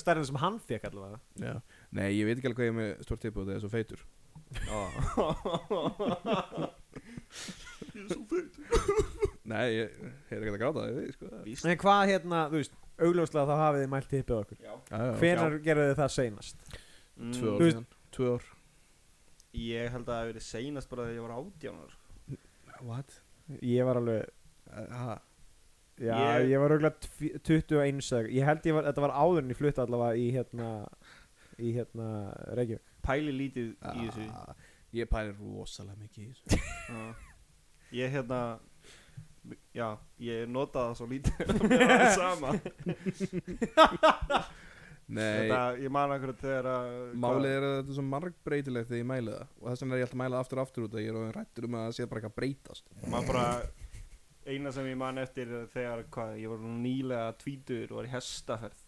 stærðin sem hann fekk allavega
Já. Nei, ég veit ekki alveg hvað ég er með stórt tipp og þetta er svo feitur Nei, ég er ekki að gráta það, ég veit sko það.
Víst
En hvað hérna, þú veist, augljóslega þá hafið þið mælt tippið okkur
Já
Já, já,
Hvenær gerðu þið það seinast?
mm.
Tvö
Þú
ár
veist-
síðan Tvö ár
Ég held að það hef verið seinast bara þegar ég var átjánar
What?
Ég var alveg,
Ha?
já,
Ég-
ég, var augljóslega tv- 21 eða Ég held ég var, þetta var áður en ég flutta allavega í hérna Í hérna Reykjavík
Pæli lítið í þessu
Ah, Ég pælir rosalega mikið í þessu
Já. Ég hérna Já, ég notaði það svo lítið Mér var það sama
(laughs) Nei,
Þetta, ég man akkur þegar að
málið er að þetta er svo margbreytilegt þegar ég mæli það og þess vegna er ég alltaf að mæla aftur og aftur út að ég er orðinn rættur um að það sé bara eitthvað að breytast
maður bara eina sem ég man eftir er þegar hvað, ég var nú nýlega tvítur og var í hestaferð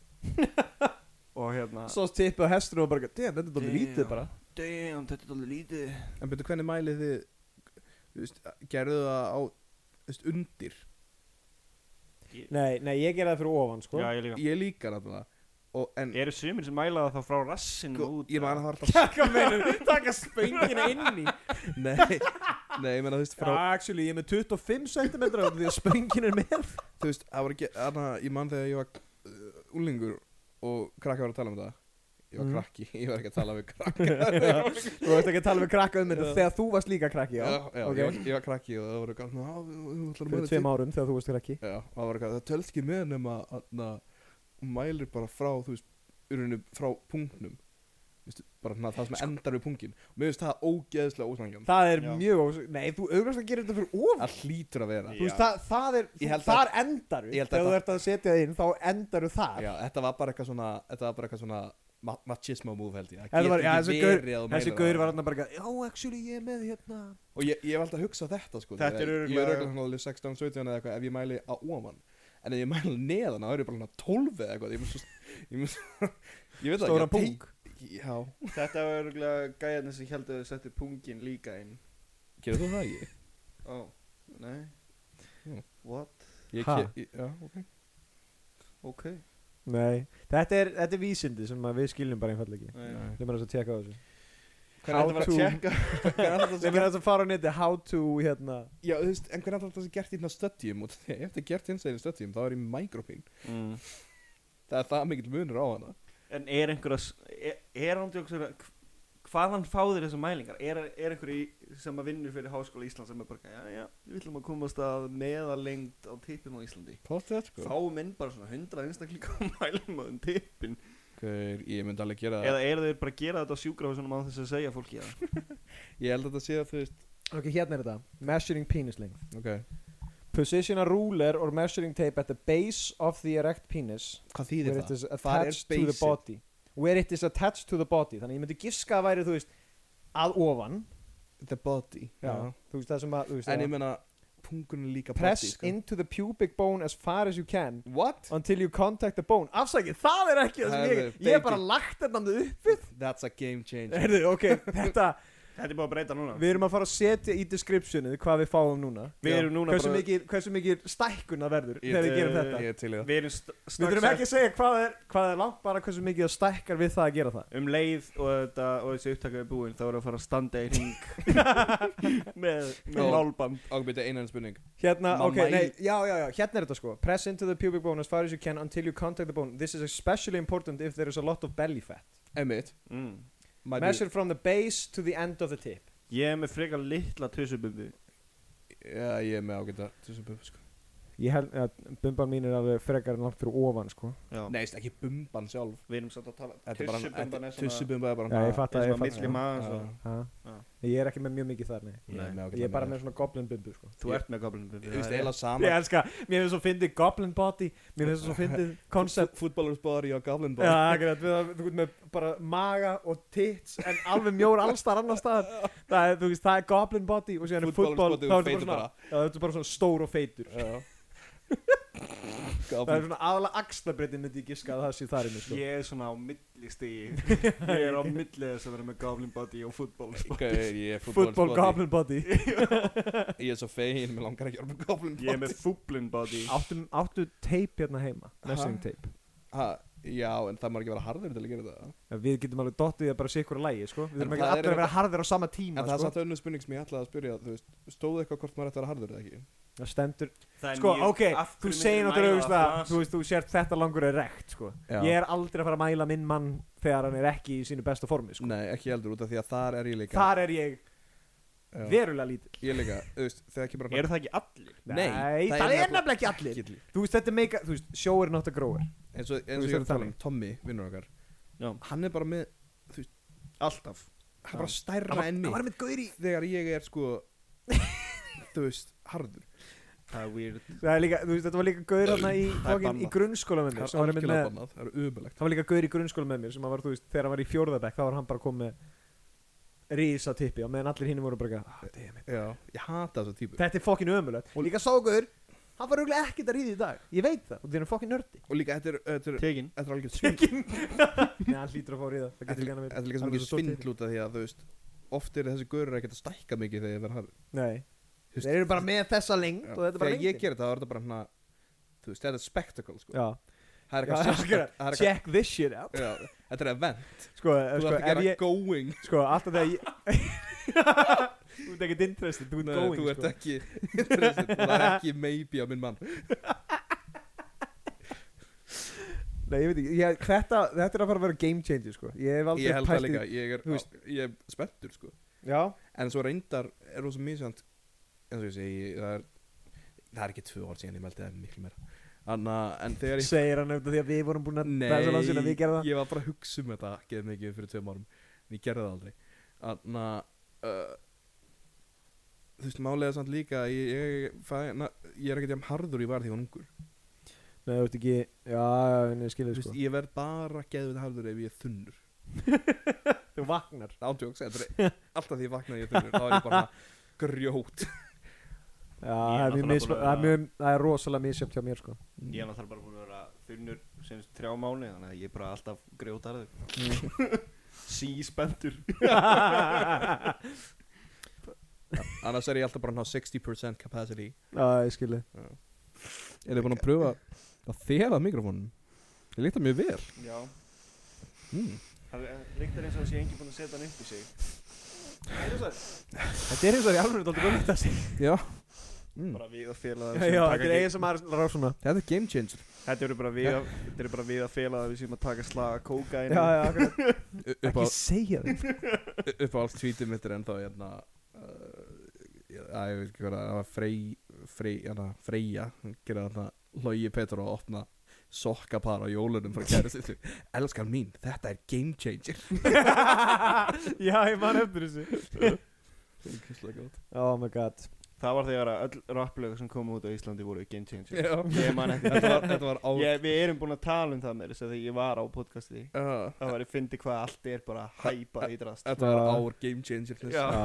(laughs) og hérna
Svo tippið á hestur og bara, damn, þetta er
dálítið
dóttir
lítið
lítið
Damn. bara."
bara
damn, þetta er alveg lítið
En betur hvernig mælið þið, þú veist, gerðu það á, þú veist, undir
Nei, nei, ég gerði það fyrir ofan, sko
já, ég líka
Ég líka náttúrulega og, En
eru sumir sem mæla það þá frá rassinu
sko,
út
ég man
eða?
að það var alltaf
Takka meinu, (laughs) taka spöngina inn í
Nei, nei, ég meina þú veist
Já,
frá,
actually, ég er með 25 cm Því að spöngin er með
þú veist, það var ekki, anna, ég man þegar ég var uh, úlingur og krakka var að tala um það Ég var
Mhm.
krakki, (laughs) ég var ekki að
(laughs)
tala við krakka
Þú veist ekki að tala við krakka um þetta
Já.
Þegar þú varst líka krakki, já,
já,
ok.
ég, var, ég var krakki og það voru galt, já, við- við ætlum að
Fyrir
mæla til
tveim árum þegar þú varst krakki
Já, það var eitthvað, það tölst ekki með nema, anna, og mælir bara frá þú veist, urinu frá punktnum Vistu, bara na, það sem
Sko-
endar við punktinn og mér finnst það ógeðslega ósangjarn
Það er
Já.
mjög ós... Nei, þú auðvitað að gera þetta fyrir ofan.
það hlýtur að vera
Já.
Þú veist, það, það er...
Ég held að-
Þar endar við.
Ég held að
Þegar þú
það-
ert að setja það inn, þá endar við þar.
Já, þetta var bara eitthvað svona þetta var bara eitthvað svona ma- machismo move held ég
Þetta
það
var- já,
getur
þessi
ekki
gaur-
verið að þú
Þessi
mælir
gaur
það.
var hann bara eitthvað, já, actually, ég er með hérna.
og ég, ég hef alltaf hugsað þetta sko
Þetta er
þegar ég er
örugglega-
örugglega svona alveg 16, 17 eða eitthvað ef ég mæli á ofan en ef ég mæli neðan þá er ég bara svona 12 eða eitthvað ég, mun svo, ég, mun svo, ég veit það
Stóra
ég teng-
pung.
já,
Þetta var örgulega gæðarnir sem heldur að þau settu pungin líka inn
gerir þú það ekki?
Ó, nei
Hm.
Jú.
What?
Ég,
Ha?
ke- ég, já, ok
Ok
Nei. Þetta er, þetta er vísindi sem að við skiljum bara einfallega ekki.
Nei.
Við erum að tjekka á þessu.
Hvernig
How
ætlar
to-
að tjekka Hvernig ætlar
Við
það
erum að fara á neti, how to, hérna.
Já, þú veist, en hvernig ætlar það að gert í hérna stöddjum og (laughs) þegar ég eftir gert hins einu stöddjum þá er ég microping
Mm.
það er það mikill munur á hana
En er einhverja s- Er, er hann tjóks Hvaðan fáðir þessar mælingar? Er, er einhverji sem að vinnur fyrir Háskóla Íslands sem er bara, já, já, við ætlum að komast að meðalengt á tippum á Íslandi
Póttu þetta sko
Fáum inn bara svona 100 einstaklinga
(laughs)
og mælum á þeim tippin
Hver, Ég myndi alveg gera það
Eða eru þeir bara að gera þetta á sjúkrafisunum á þess að segja fólki það?
Ég held að þetta sé að þú veist
Ok, hérna er þetta. Measuring penis length.
Ok
Position a ruler or measuring tape at the base of the erect penis where
Hvað
it
þýðir það?
is
Hvar er
attached to the
baseið?
body where it is attached to the body þannig ég myndi giska að væri þú veist að ofan
The body Já.
þú veist það sem að þú veist,
En
það-
ég menna Pungunum líka
press
body, sko.
into the pubic bone as far as you can
What?
until you contact the bone afsakið það er ekki það sem
Herðu,
ég ég er
bacon.
bara lagt þetta með uppið
That's a game changer
Herðu, ok, þetta,
(laughs) Þetta er bara að breyta núna
við erum að fara að setja í descriptionið hvað við fáum núna
Við erum núna
hversu
bara-
mikið, hversu mikið stækkun það verður
Ég-
þegar við gerum
eh,
þetta
Ég er til í það
Við erum st
Við þurfum
strax
ekki að segja hvað er, hvað er langt bara hversu mikið það stækkar við það að gera það
um leið og, þetta, og þessi upptaka er búin þá erum við að fara að standa í ring (laughs) með, með
Já.
lálband
Og byrja einan spurning
Hérna,
Má
ok,
mæl-
nei, já, já, já, hérna er þetta sko Press into the pubic bone as far as you can until you contact the bone This is especially important if there is a lot of belly fat
Emmitt
mm.
Measure from the base to the end of the tip
Ég er með frekar litla tussububbi
Já, ég er með ágæta Þessu bubbi sko
Ég held að bumban mín er alveg frekar en langt fyrir ofan sko
Við
Nei, veist, ekki bumban sjálf
erum samt að tala
Þetta er bara-
Tussububban er svona
Tussubumba er bara
Já, ég fatt að
er
ég
svona
fatt
milli maður
Já.
svo.
að Ég er ekki með mjög mikið þar, nei
Ég er með ágæta
Ég er bara
meðal.
með svona goblin bumbu sko
Þú ert með goblin bubbi
Þú veist, eila
Ég
sama
elska, mér finnst svo fyndið goblin body Mér finnst svo fyndið (laughs) concept
Footballers body og goblin
Já,
body
akkurat, við, það- þú veist með bara maga og tits en alveg mjór allstar annar (laughs) staðar það er, þú veist, það er goblin body og síðan er
Footballers
fútbol,
body
þá ertu bara
og feitur
svona
bara.
já, það ertu bara svona stór og feitur
Já
það er
Goblin
svona aðalega axlabreitin myndi ég giska að það sé þar inni sko.
Ég er svona á milli (laughs) stigi Ég er á milli þess að vera með goblin body og sko. fútból
Gauður, ég er
fútbol
footballers body
goblin body
Ég er svo fegin, mér langar ekki að vera með goblin
Ég er
body
með fúblin body
áttu, áttu tape hérna heima messing
Ha?
tape
ha, Já, en það má ekki vera harður til að gera þetta
ja, við getum alveg dottið í að bara sé ykkur að lægi sko. við
En
þurfum ekki
það
allir
er-
að vera harðir á sama
En
tíma
það er
sko.
samt önnur spurning sem ég ætlaði að spyrja Þú veist, stóðu eitthvað hvort maður ætti að vera harður eða ekki?
það stendur
Það er
sko,
mjög-
ok,
af
þú
hverju myndirðu
segir náttúrulega
mæla
augljóslega,
það?
þú veist, þú sért þetta langur er rekt sko.
Já.
ég er aldrei að fara að mæla minn mann þegar hann er ekki í sínu besta formi sko.
Nei, ekki heldur út af því að þar er ég líka
þar er ég
Já.
verulega lítill
Ég líka, þú veist, þegar ekki bara
Eru það ekki allir?
Nei,
það, er nefnilega ekki allir
Gilli.
þú veist, þetta er meika, þú veist, show er not a grower
Eins
Þú
og, eins
veist,
og ég
það
er
er
að tala um Tommy, vinnur okkar
Já.
Hann er bara með, þú veist, alltaf Hann er bara stærra enn mig
með gauri
Þegar ég er sko, (laughs) þú veist, harður
Það er weird
það er líka, þú veist, þetta var líka gaur hann í, fucking- í
bannað.
grunnskóla með
Það
mér
er
sem var einmitt
algjörlega
með-
bannað, það er umulegt
það var líka gaur í grunnskóla með mér sem var, þú veist, þegar hann var í fjórðabæk þá var hann bara komið rísa tippi og meðan allir hinn voru bara eitthvað, ah, damn it.
Já, ég hata þessa típu
þetta er fokkin ömulegt og líka ságur, hann var auðvitað ekkert að ríða í dag ég veit það, og það er fokkin
(laughs)
nördi
Og líka, þetta er, þetta er,
Tekin
þetta er algjörð svindl
Nei, hann hlýtur að fá að ríða það
Þetta
getur
er
ekki annað
þetta
verið.
er líka svo
Hann er
mikið
svo stór titill.
svindl út af því að, þú veist Oft er þessi görur ekkert að stækka mikið þegar ég verð harður
Nei,
Þú veist,
þeir eru bara með þessa lengt og þetta er bara
Þegar ég
lengdin.
ger þetta, þá er þetta bara hana Þú veist, þetta er spectacle, sko
Já, (laughs)
Það er
Já,
eitthvað
akkurat.
sérstakt það er eitthvað-
check this shit out
Já, Þetta er event
Sko,
Þú
sko
þarf að
ef
gera
ég
going
Sko, alltaf þegar ég
(laughs)
Þú ert ekkert interested, þú ert
Nei,
going
Þú ert
sko.
ekki (laughs) interested, Það er ekki maybe á minn mann
Nei, ég veit ekki, ég, þetta, þetta er að fara að vera game changer sko. Ég hef aldrei
Ég held það
pælt í-
líka Ég er,
þú veist.
á- ég er spenntur, sko
Já,
En svo reyndar er rosa misjönd eins og ég segi, það er það er ekki tvö orð síðan ég meldi það er miklu meira Anna, en þegar
(laughs)
ég
segir hann auðvitað því að við vorum búin að
Nei,
bæsa lansin að við gerða það
ég var bara að hugsa um þetta geð mikið fyrir tveim árum en ég gerði það aldrei Þannig að uh, þú veist, málega samt líka að ég, ég, fæ, na, ég er ekkert jafn harður og ég var því ég var ungur
Nei, þú veist ekki, já, já, en ég skilði
Þú
sko
veist, ég verð bara geðvita harður ef ég er þunnur
Þú vaknar (laughs)
ándjóks, þetta er alltaf því ég vakna ég er þunnur, þá er ég bara grjót
Já, það er mjög
náttúrulega
misjöfn-
búin að
það er
vera-
mjög- það er rosalega misjöfn hjá mér sko
(laughs)
Mm.
Ég er náttúrulega bara búin að vera þunnur sem þrjá mánu Þannig að ég er bara alltaf grjótarður
Mm.
Síspendur
annars er ég alltaf bara að ná 60% capacity
Já, ég skilði
Er þið búin að pröfa að þela mikrofónum? Ég líkta mjög vel
Já
mm.
Það líktar eins og þessi engi búin að setja hann upp í sig
Þetta er eins og í alveg aldrei góð þetta sig
Já mm.
Bara við að fela
Já, já, þetta er eigin sem maður ráð svona
Þetta er game changer
Þetta eru bara við að Þetta eru bara við að fela að við séum að taka slaga kóka
Já, já, akkurat
U- upp á,
Ekki segja
(laughs)
þig
upp á allt tweetið mitt er ennþá hérna uh, ég, að, ég veit ekki hvað það var Frey, Frey, hérna, Freyja hún gera þarna Logi Petur og opna sokkapar á jólunum frá kæri sýttu elskan mín, þetta er game changer
Já, ég man eftir þessu Oh my
(laughs)
god
Það var þegar að öll rapplög sem kom út á Íslandi voru game changer
Já.
Ég man ekki
þetta var, þetta var á
Ég, við erum búin að tala um það með þess að því ég var á podcasti
uh,
Það var að fyndi hvað allt er bara hæpað í drast
þetta var
Já.
ár game changer þessi.
Já.
Já.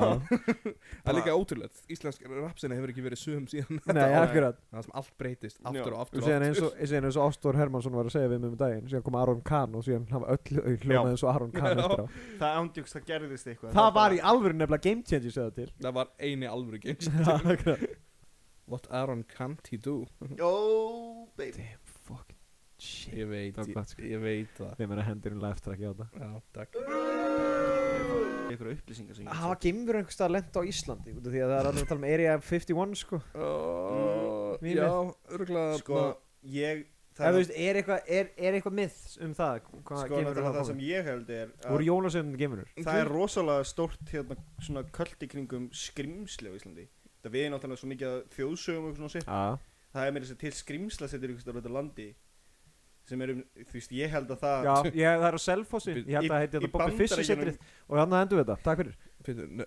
það er líka ótrúlegt, íslensk rapsina hefur ekki verið sögum síðan (laughs)
Nei, akkurat
það sem allt breytist
Já.
aftur og
Og
aftur og
síðan eins
aftur
og, síðan eins og Ástór Hermansson var að segja við mig um daginn Síðan kom Aron Kahn og síðan hafa öll þau hljómað eins og Aron
(laughs)
Kahn
Já.
eftir á
Það ándjúkst, það gerðist eitthvað
Það var í alvöru nefnilega game changer segða til
það var eini alvöru game
(laughs) Já,
changer
akkurat
what Aaron can't he do
Jó, baby
Fuck Shit
ég veit,
Það var gott,
ég,
sko.
ég veit það
Þeim er að hendur um live track í á það
Já, takk
Eitthvað upplýsingar sem
Hafa geimur einhvers stað lent á Íslandi út af því að það er alveg að tala um Area 51 sko
uh,
Mínir.
Já, örgulega
Sko, ég
Ef
Það,
þú veist, er eitthvað er, er eitthvað myths um það hvað
sko, það,
geimur er að
það
koma
sem ég held er að
Úr jólasöndin geimurur
Það er rosalega stórt hérna svona kvöld í kringum skrimsli á Íslandi Það við erum náttúrulega svo mikið að þjóðsögum og eitthvað svona sér
Já
Það er meira þess að til skrimsla settir ykkur stóra landi sem erum, þú veist, ég held að það
Já, ég, það er á Selfossi Ég held að
Í- í
heiti þetta Bobby Fischer
Bandaríkjunum-
setrið Og hann hendur við þetta, takk fyrir
Pétur,